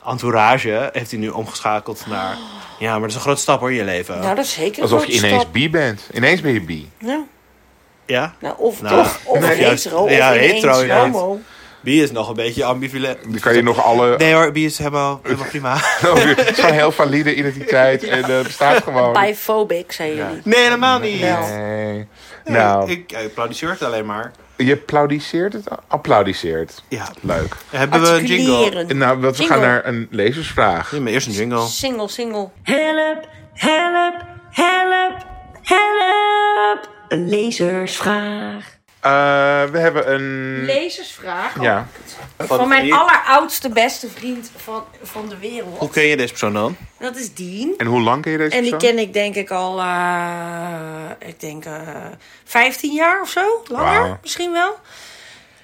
entourage heeft hij nu omgeschakeld naar... Ja, maar dat is een grote stap hoor in je leven. Nou, dat is zeker een Alsof je grote ineens stap. bi bent. Ineens ben je bi. Nou, Ja? nou, of, Nou, of, of nee, juist- hetero, ja, of ineens nou, hetero, ja. homo. Bi is nog een beetje ambivalent. Dan kan je nog alle... Oh, Nee hoor, Bi is helemaal, helemaal prima. Het is gewoon heel valide identiteit en eh, bestaat gewoon. Biphobic, zeiden jullie. Nee, helemaal niet. Nee. Nou, Ik, ik applaudisseer het alleen maar. je applaudiseert het? Applaudiseert. Ja. Leuk. Hebben we een jingle? Articuleren. Nou, wat, we Jingle. gaan naar een lezersvraag. Ja, maar eerst een jingle. Single, single. Help, help, help, help. Een lezersvraag. Eh, we hebben een... Lezersvraag Ja. van mijn alleroudste beste vriend van, van de wereld. Hoe ken je deze persoon dan? Dat is Dean. En hoe lang ken je deze En die persoon? ken ik denk ik al, eh, ik denk eh 15 jaar of zo. Langer Wauw. misschien wel.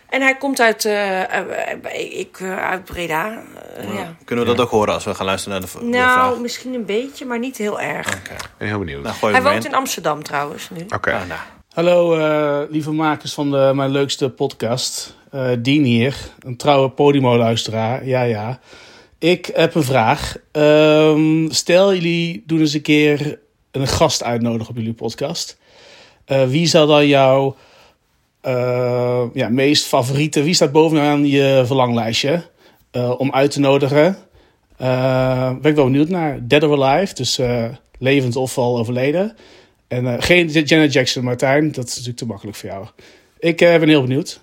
En hij komt uit, eh, eh, eh, ik, eh, uit Breda. eh, ja. Kunnen we dat ook horen als we gaan luisteren naar de, v- de vraag? Nou, misschien een beetje, maar niet heel erg. Ik ben heel benieuwd. Nou, Oké. gooi Hij hem woont erin. in Amsterdam trouwens nu. Ah, nou. Hallo eh, lieve makers van de, mijn leukste podcast. Eh Dien hier, een trouwe Podimo-luisteraar. Ja, ja. Ik heb een vraag. Ehm, stel, jullie doen eens een keer een gast uitnodigen op jullie podcast. Eh, wie zou dan jouw eh, ja, meest favoriete... Wie staat bovenaan je verlanglijstje eh, om uit te nodigen? Eh, ben ik wel benieuwd naar. Dead or Alive, dus eh, levend of al overleden. En eh, geen Janet Jackson, Martijn. Dat is natuurlijk te makkelijk voor jou. Ik eh, ben heel benieuwd.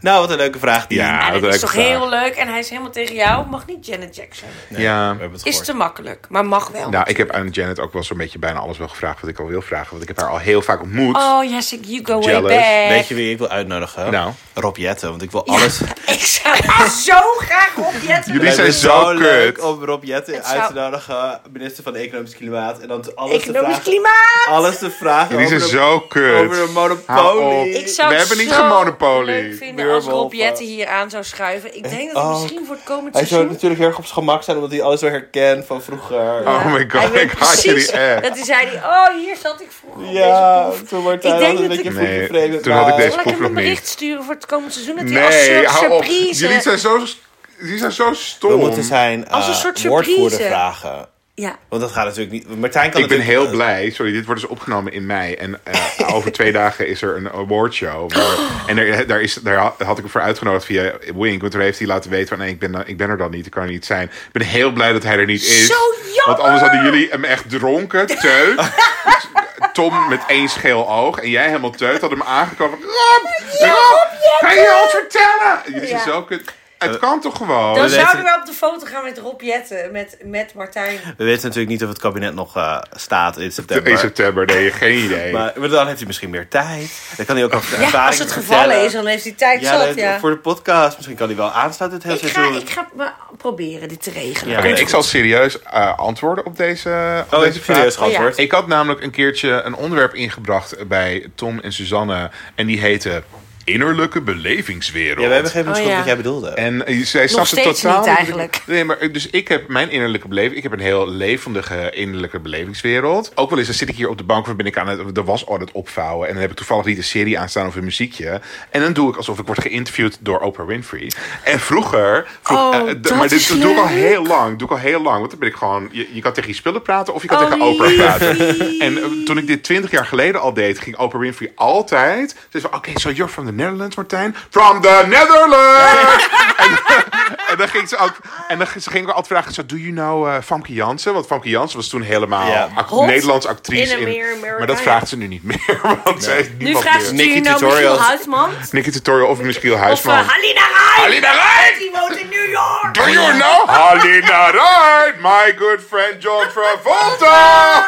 nou, wat een leuke vraag die. Ja, en dat het is leuke toch vraag. heel leuk. En hij is helemaal tegen jou. Mag niet Janet Jackson. Ja. We hebben het Is gehoord. te makkelijk, maar mag wel. Nou, ik heb aan Janet ook wel zo'n beetje bijna alles wel gevraagd wat ik al wil vragen. Want ik heb haar al heel vaak ontmoet. Oh, yes, ik- you go Jealous. way back. Weet je wie ik wil uitnodigen? Nou. Rob Jetten, want ik wil alles... Ik zou zo graag op Jetten Jullie Het zijn is zo leuk kut. om Rob Jetten Het zou- uit te nodigen, minister van Economisch Klimaat. En dan te- alles te Economisch vragen... klimaat. Alles te vragen Jullie zijn over, zo een, kut. over een Hou op. monopolie. Ik zou We het hebben niet zo gemonopolie. leuk vinden als Rob Weerwolven. Jetten hier aan zou schuiven. Ik denk dat het ook. misschien voor het komend Hij zou seizoen... natuurlijk heel erg op zijn gemak zijn, omdat hij alles weer herkent van vroeger. Oh my god, Hij weet ik haat jullie precies echt. Dat hij zei, die, oh, hier zat ik vroeger op Ja, deze poef. toen wordt Ik hij denk altijd een dat beetje ik- Nee, voelgevreven. toen had ik deze- Zal ik hem nog een niet. bericht sturen voor het komende seizoen? Dat hij als Nee, soort hou op. surprise... Jullie zijn zo, jullie zijn zo stom. We moeten zijn eh, Als een soort surprise. woordvoerder vragen. Ja, Want dat gaat natuurlijk niet. Martijn kan Ik ben natuurlijk- heel blij. Sorry, dit wordt dus opgenomen in mei. En eh, over twee dagen is er een awardshow. waar- En daar, daar, is, daar had- had ik hem voor uitgenodigd via Wink. Want toen heeft hij laten weten van... Nee, ik ben, dan- ik ben er dan niet. Ik kan er niet zijn. Ik ben heel blij dat hij er niet is. Zo jammer! Want anders hadden jullie hem echt dronken. Teut. Tom met één scheel oog. En jij helemaal teut. Had hem aangekomen. van, Rob! Rob! Kan je ons vertellen? En Jullie Ja. zijn zo kut. Het kan toch gewoon? dan weten- zouden we op de foto gaan met Rob Jetten, met, met Martijn. We weten natuurlijk niet of het kabinet nog eh, staat in september. In september, nee, geen idee. Maar, maar dan heeft hij misschien meer tijd. Dan kan hij ook over zijn Ja, ervaring als het gevallen vertellen. is, dan heeft hij tijd Ja, zat, dat- ja. voor de podcast. Misschien kan hij wel aansluiten het Ik hele ga, seizoen. ik ga maar proberen dit te regelen. Ja. Oké, ik zal serieus eh, antwoorden op deze, op Oh, deze even serieus vraag. geantwoord. Ik had namelijk een keertje een onderwerp ingebracht bij Tom en Suzanne. En die heette innerlijke belevingswereld. Ja, we hebben geen moment Oh, ja. gehad wat jij bedoelde. En eh, zij snapt het steeds totaal niet eigenlijk. Nee, maar dus ik heb mijn innerlijke beleving. Ik heb een heel levendige innerlijke belevingswereld. Ook wel eens dan zit ik hier op de bank of ben ik aan het, de was aan het opvouwen. En dan heb ik toevallig niet een serie aanstaan of een muziekje. En dan doe ik alsof ik word geïnterviewd door Oprah Winfrey. En vroeger. vroeg- Oh, eh, de- dat maar dit is doe ik al leuk. heel lang. Doe ik al heel lang. Want dan ben ik gewoon. Je, je kan tegen je spullen praten of je kan Oh, tegen Oprah praten. liefie. En eh, toen ik dit twintig jaar geleden al deed, ging Oprah Winfrey altijd. Ze zei: van, Oké, so you're from the Netherlands, Martijn? From the Netherlands! En dan ging ze ook, en dan ging ze ging ook altijd vragen: zo, Do you know eh Famke Jansen? Want Famke Jansen was toen helemaal Ja. act- Hot Nederlands actrice. in Amerika, maar dat ja. vraagt ze nu niet meer. Want ze heeft Nu niemand vraagt meer. ze Nicky je nou Tutorials. Michiel Huisman. Nicky Tutorial of misschien Of eh, Huisman. Halina Rai. Halina Rijn! Die woont in New York. Do you know? Halina Rijn, my good friend John Travolta!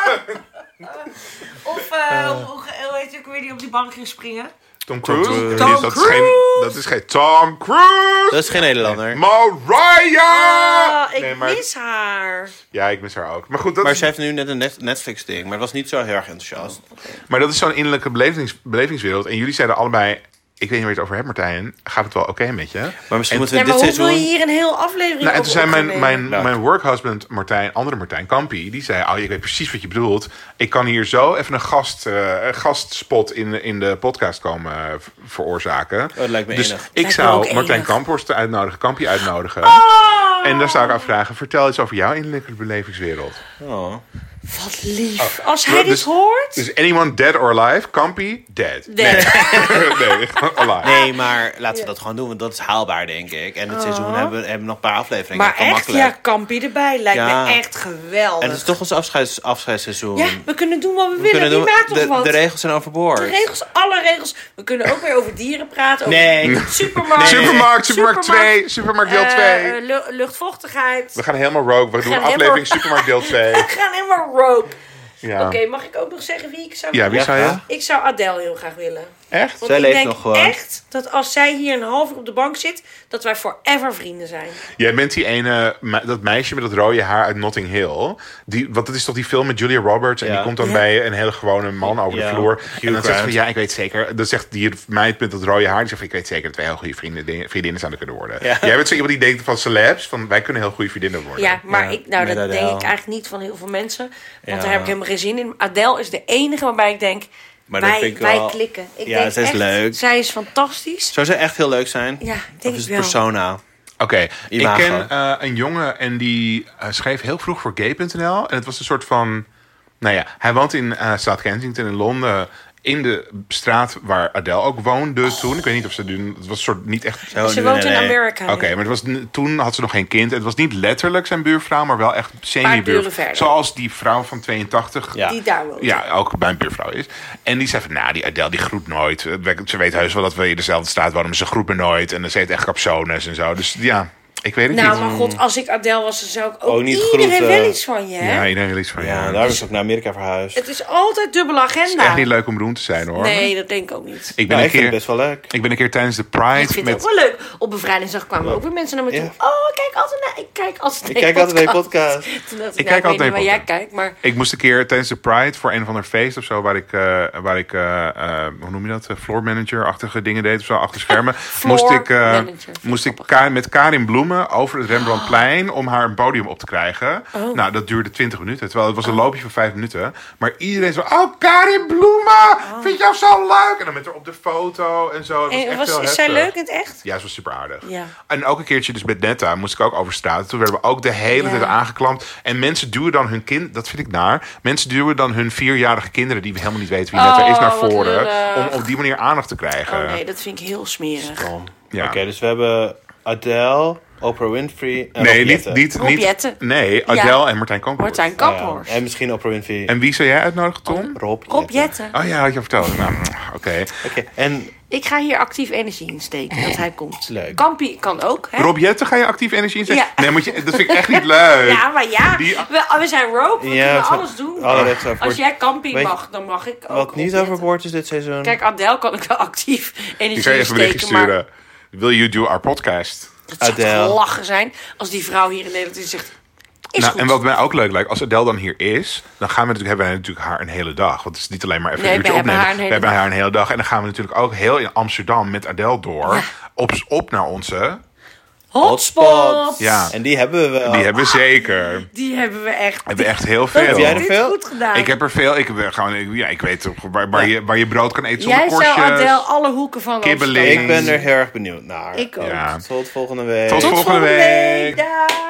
Of eh, hoe hoe heet ik weer die op die bank ging springen? Tom Cruise? Cruise. Dat is- dat, Is geen, dat is geen Tom Cruise! Dat is geen Nederlander. Mariah! Ah, ik Nee, maar- mis haar. Ja, ik mis haar ook. Maar goed, dat Maar is ze heeft nu net een net- Netflix-ding, maar was niet zo heel erg enthousiast. Maar dat is zo'n innerlijke belevings- belevingswereld. En jullie zeiden allebei ik weet niet waar je het over hebt, Martijn. Gaat het wel oké met je? Maar misschien En- moeten Ja, we maar dit hoe wil je seizoen... hier een heel aflevering Nou, en toen over zei mijn, opnemen? mijn, Nou. mijn workhusband Martijn, andere Martijn Kampi, die zei: Oh, ik weet precies wat je bedoelt. Ik kan hier zo even een, gast, eh, een gastspot in, in de podcast komen eh, v- veroorzaken. Oh, dat lijkt me dus enig. ik Lijkt me ook zou enig. Oh. Martijn Kamphorst uitnodigen, Kampi uitnodigen. En Ah. daar zou ik aan vragen: vertel iets over jouw innerlijke belevingswereld. Oh. Wat lief. Als hij dus- dit hoort... Dus anyone dead or alive? Kampi, dead. Nee. nee, gewoon alive. Nee, maar laten we dat gewoon doen, want dat is haalbaar, denk ik. En het seizoen hebben we hebben we nog een paar afleveringen. Oh. Maar dat kan echt, makkelijk. ja, Kampie erbij lijkt Ja. me echt geweldig. En het is toch ons afscheids, afscheidsseizoen. Ja, we kunnen doen wat we, We willen. kunnen Wie doen- maakt ons de, wat? de regels zijn overboord. De regels, alle regels. We kunnen ook weer over dieren praten. Over Nee. Supermarkt. Supermarkt, supermarkt 2, supermarkt deel eh, 2. lu- luchtvochtigheid. we gaan helemaal rogue. We doen een gaan helemaal- aflevering Supermarkt deel 2. We gaan helemaal rogue. Ja. Oké, mag ik ook nog zeggen wie ik zou Ja, wie Ja, zou je? graag. Ik zou Adele heel graag willen. Echt? Want Zij ik leeft denk nog eh, gewoon. echt dat als zij hier een half uur op de bank zit, dat wij forever vrienden zijn. Jij bent die ene, me- dat meisje met dat rode haar uit Notting Hill. Die, want dat is toch die film met Julia Roberts. En Ja. die komt dan Ja. bij een hele gewone man over Ja. de vloer. en dan Grant. zegt ze van, ja, ik weet zeker. Dan zegt die meid met dat rode haar. Die zegt van, ik weet zeker dat wij heel goede vrienden, dingen- vriendinnen zouden kunnen worden. Ja. Jij bent zo iemand die denkt van celebs. Van, wij kunnen heel goede vriendinnen worden. Ja, maar Ja, ik, nou, met dat Adele. denk ik eigenlijk niet van heel veel mensen. Want Ja. daar heb ik helemaal geen zin in. Adele is de enige waarbij ik denk, Maar dat wij, vind ik wij wel- klikken. Ik Ja, denk zij is echt, leuk. Zij is fantastisch. Zou ze echt heel leuk zijn? Ja, Of denk is het ik wel. persona? Oké, ik Imago. ken eh, een jongen en die eh, schreef heel vroeg voor gay.nl. En het was een soort van. Nou ja, hij woont in eh South Kensington in Londen. In de straat waar Adele ook woonde toen. Ik weet niet of ze nu. Het was een soort niet echt. Zo, Ze nee, woont nee, in nee. Amerika. Oké, nu. maar het was, n- toen had ze nog geen kind. Het was niet letterlijk zijn buurvrouw, maar wel echt buren semi-buurvrouw. verder. Zoals die vrouw van 82 Ja. Die daar woont. ja, ook mijn buurvrouw is. En die zei van, nou, die Adele die groet nooit. Ze weet heus wel dat we in dezelfde staat wonen, maar ze groet me nooit. En ze heeft echt capsones en zo. Dus ja, ik weet het Nou, niet. maar god, als ik Adele was, dan zou ik ook, Ook Mm. Oh, niet iedereen groeten. wel iets van je. hè? Ja, iedereen wil iets van Ja, ja, daarom is ze ook naar Amerika verhuisd. Het is altijd dubbele agenda. Echt niet leuk om beroemd te zijn, hoor. nee, dat denk ik ook niet. Ik ben, Nou, een ik vind het keer, best wel leuk. ik ben een keer tijdens de Ik Pride vind met... het ook wel leuk. Op bevrijdingsdag kwamen ook weer mensen naar me toe. Ja. Oh, ik kijk altijd naar, ik kijk altijd naar Ik kijk je altijd naar je podcast. podcast. Toen dacht Ik ik, kijk nou, ik weet niet altijd naar waar je jij kijkt, maar... Ik moest een keer tijdens de Pride voor een of ander feest of zo, waar ik, eh, waar ik eh, eh, hoe noem je dat, Eh, floor manager-achtige dingen deed of zo, achter schermen. moest ik, eh, manager, vind ik moest ik Ka- met Karin Bloemen over het Rembrandtplein om haar een podium op te krijgen. Oh. Nou, dat duurde 20 minuten, terwijl het was een loopje van 5 minuten. Maar iedereen zo, oh Karin Bloemen, Oh. vind je jou zo leuk? En dan met haar op de foto en zo. Het was Hey, echt was, heel is zij heftig. leuk in het echt? Ja, ze was super aardig. Ja. En ook een keertje dus met Netta moest ik ook over straat. Toen werden we ook de hele Ja. tijd aangeklampt. En mensen duwen dan hun kind, dat vind ik naar. Mensen duwen dan hun vierjarige kinderen, die we helemaal niet weten wie Netta Oh, is, naar wat voren. Om lullig. op die manier aandacht te krijgen. Oh nee, dat vind ik heel smerig. Kom. Ja. Oké, dus we hebben Adele, Oprah Winfrey en Nee, Rob niet, Jetten. niet, Rob niet. Jetten. Nee, Adele en Martijn Kamp. Martijn Ja, Kaphorst. En misschien Oprah Winfrey en En wie zou jij uitnodigen, Tom? Rob Jetten. Rob Jetten. Oh ja, had je verteld. Nou, mm, oké. Oké, en Ik ga hier actief energie in steken, dat hij komt. Leuk. Kampie kan ook, hè? Rob Jetten, ga je actief energie inzetten? Ja. Nee, moet je, dat vind ik echt niet leuk. Ja, maar ja, Die- we, we zijn rope, we Ja, oh, kunnen we zijn- alles doen. alle regels overboord. Als jij Kampie Weet je- mag, dan mag ik ook. wat Rob niet Jetten. overboord is dit seizoen? Kijk, Adele kan ik wel actief Ik zou energie je in even een berichtje steken, maar sturen. Will you do our podcast? het zou Adele. toch lachen zijn als die vrouw hier in Nederland is zegt, is nou, goed. En wat mij ook leuk lijkt, als Adele dan hier is, dan gaan we natuurlijk, hebben wij natuurlijk haar een hele dag. Want het is niet alleen maar even Nee, een uurtje we hebben opnemen. haar een hele we hebben dag. haar een hele dag. En dan gaan we natuurlijk ook heel in Amsterdam met Adele door. Op, op naar onze. Hotspot! Ja, En die hebben we wel. die hebben we zeker. We Die hebben we echt. hebben echt heel veel. Dat Heb jij er dit veel? goed gedaan. Ik heb er veel. Ik, heb er gewoon, ik, ja, ik weet toch waar, waar, je, waar je brood kan eten zonder Jij zou Adele korstjes. alle hoeken van Kibbeling. Amsterdam. Ik ben er heel erg benieuwd naar. Ik ook. Ja. Tot volgende week. Tot Tot volgende volgende week. week. Dag.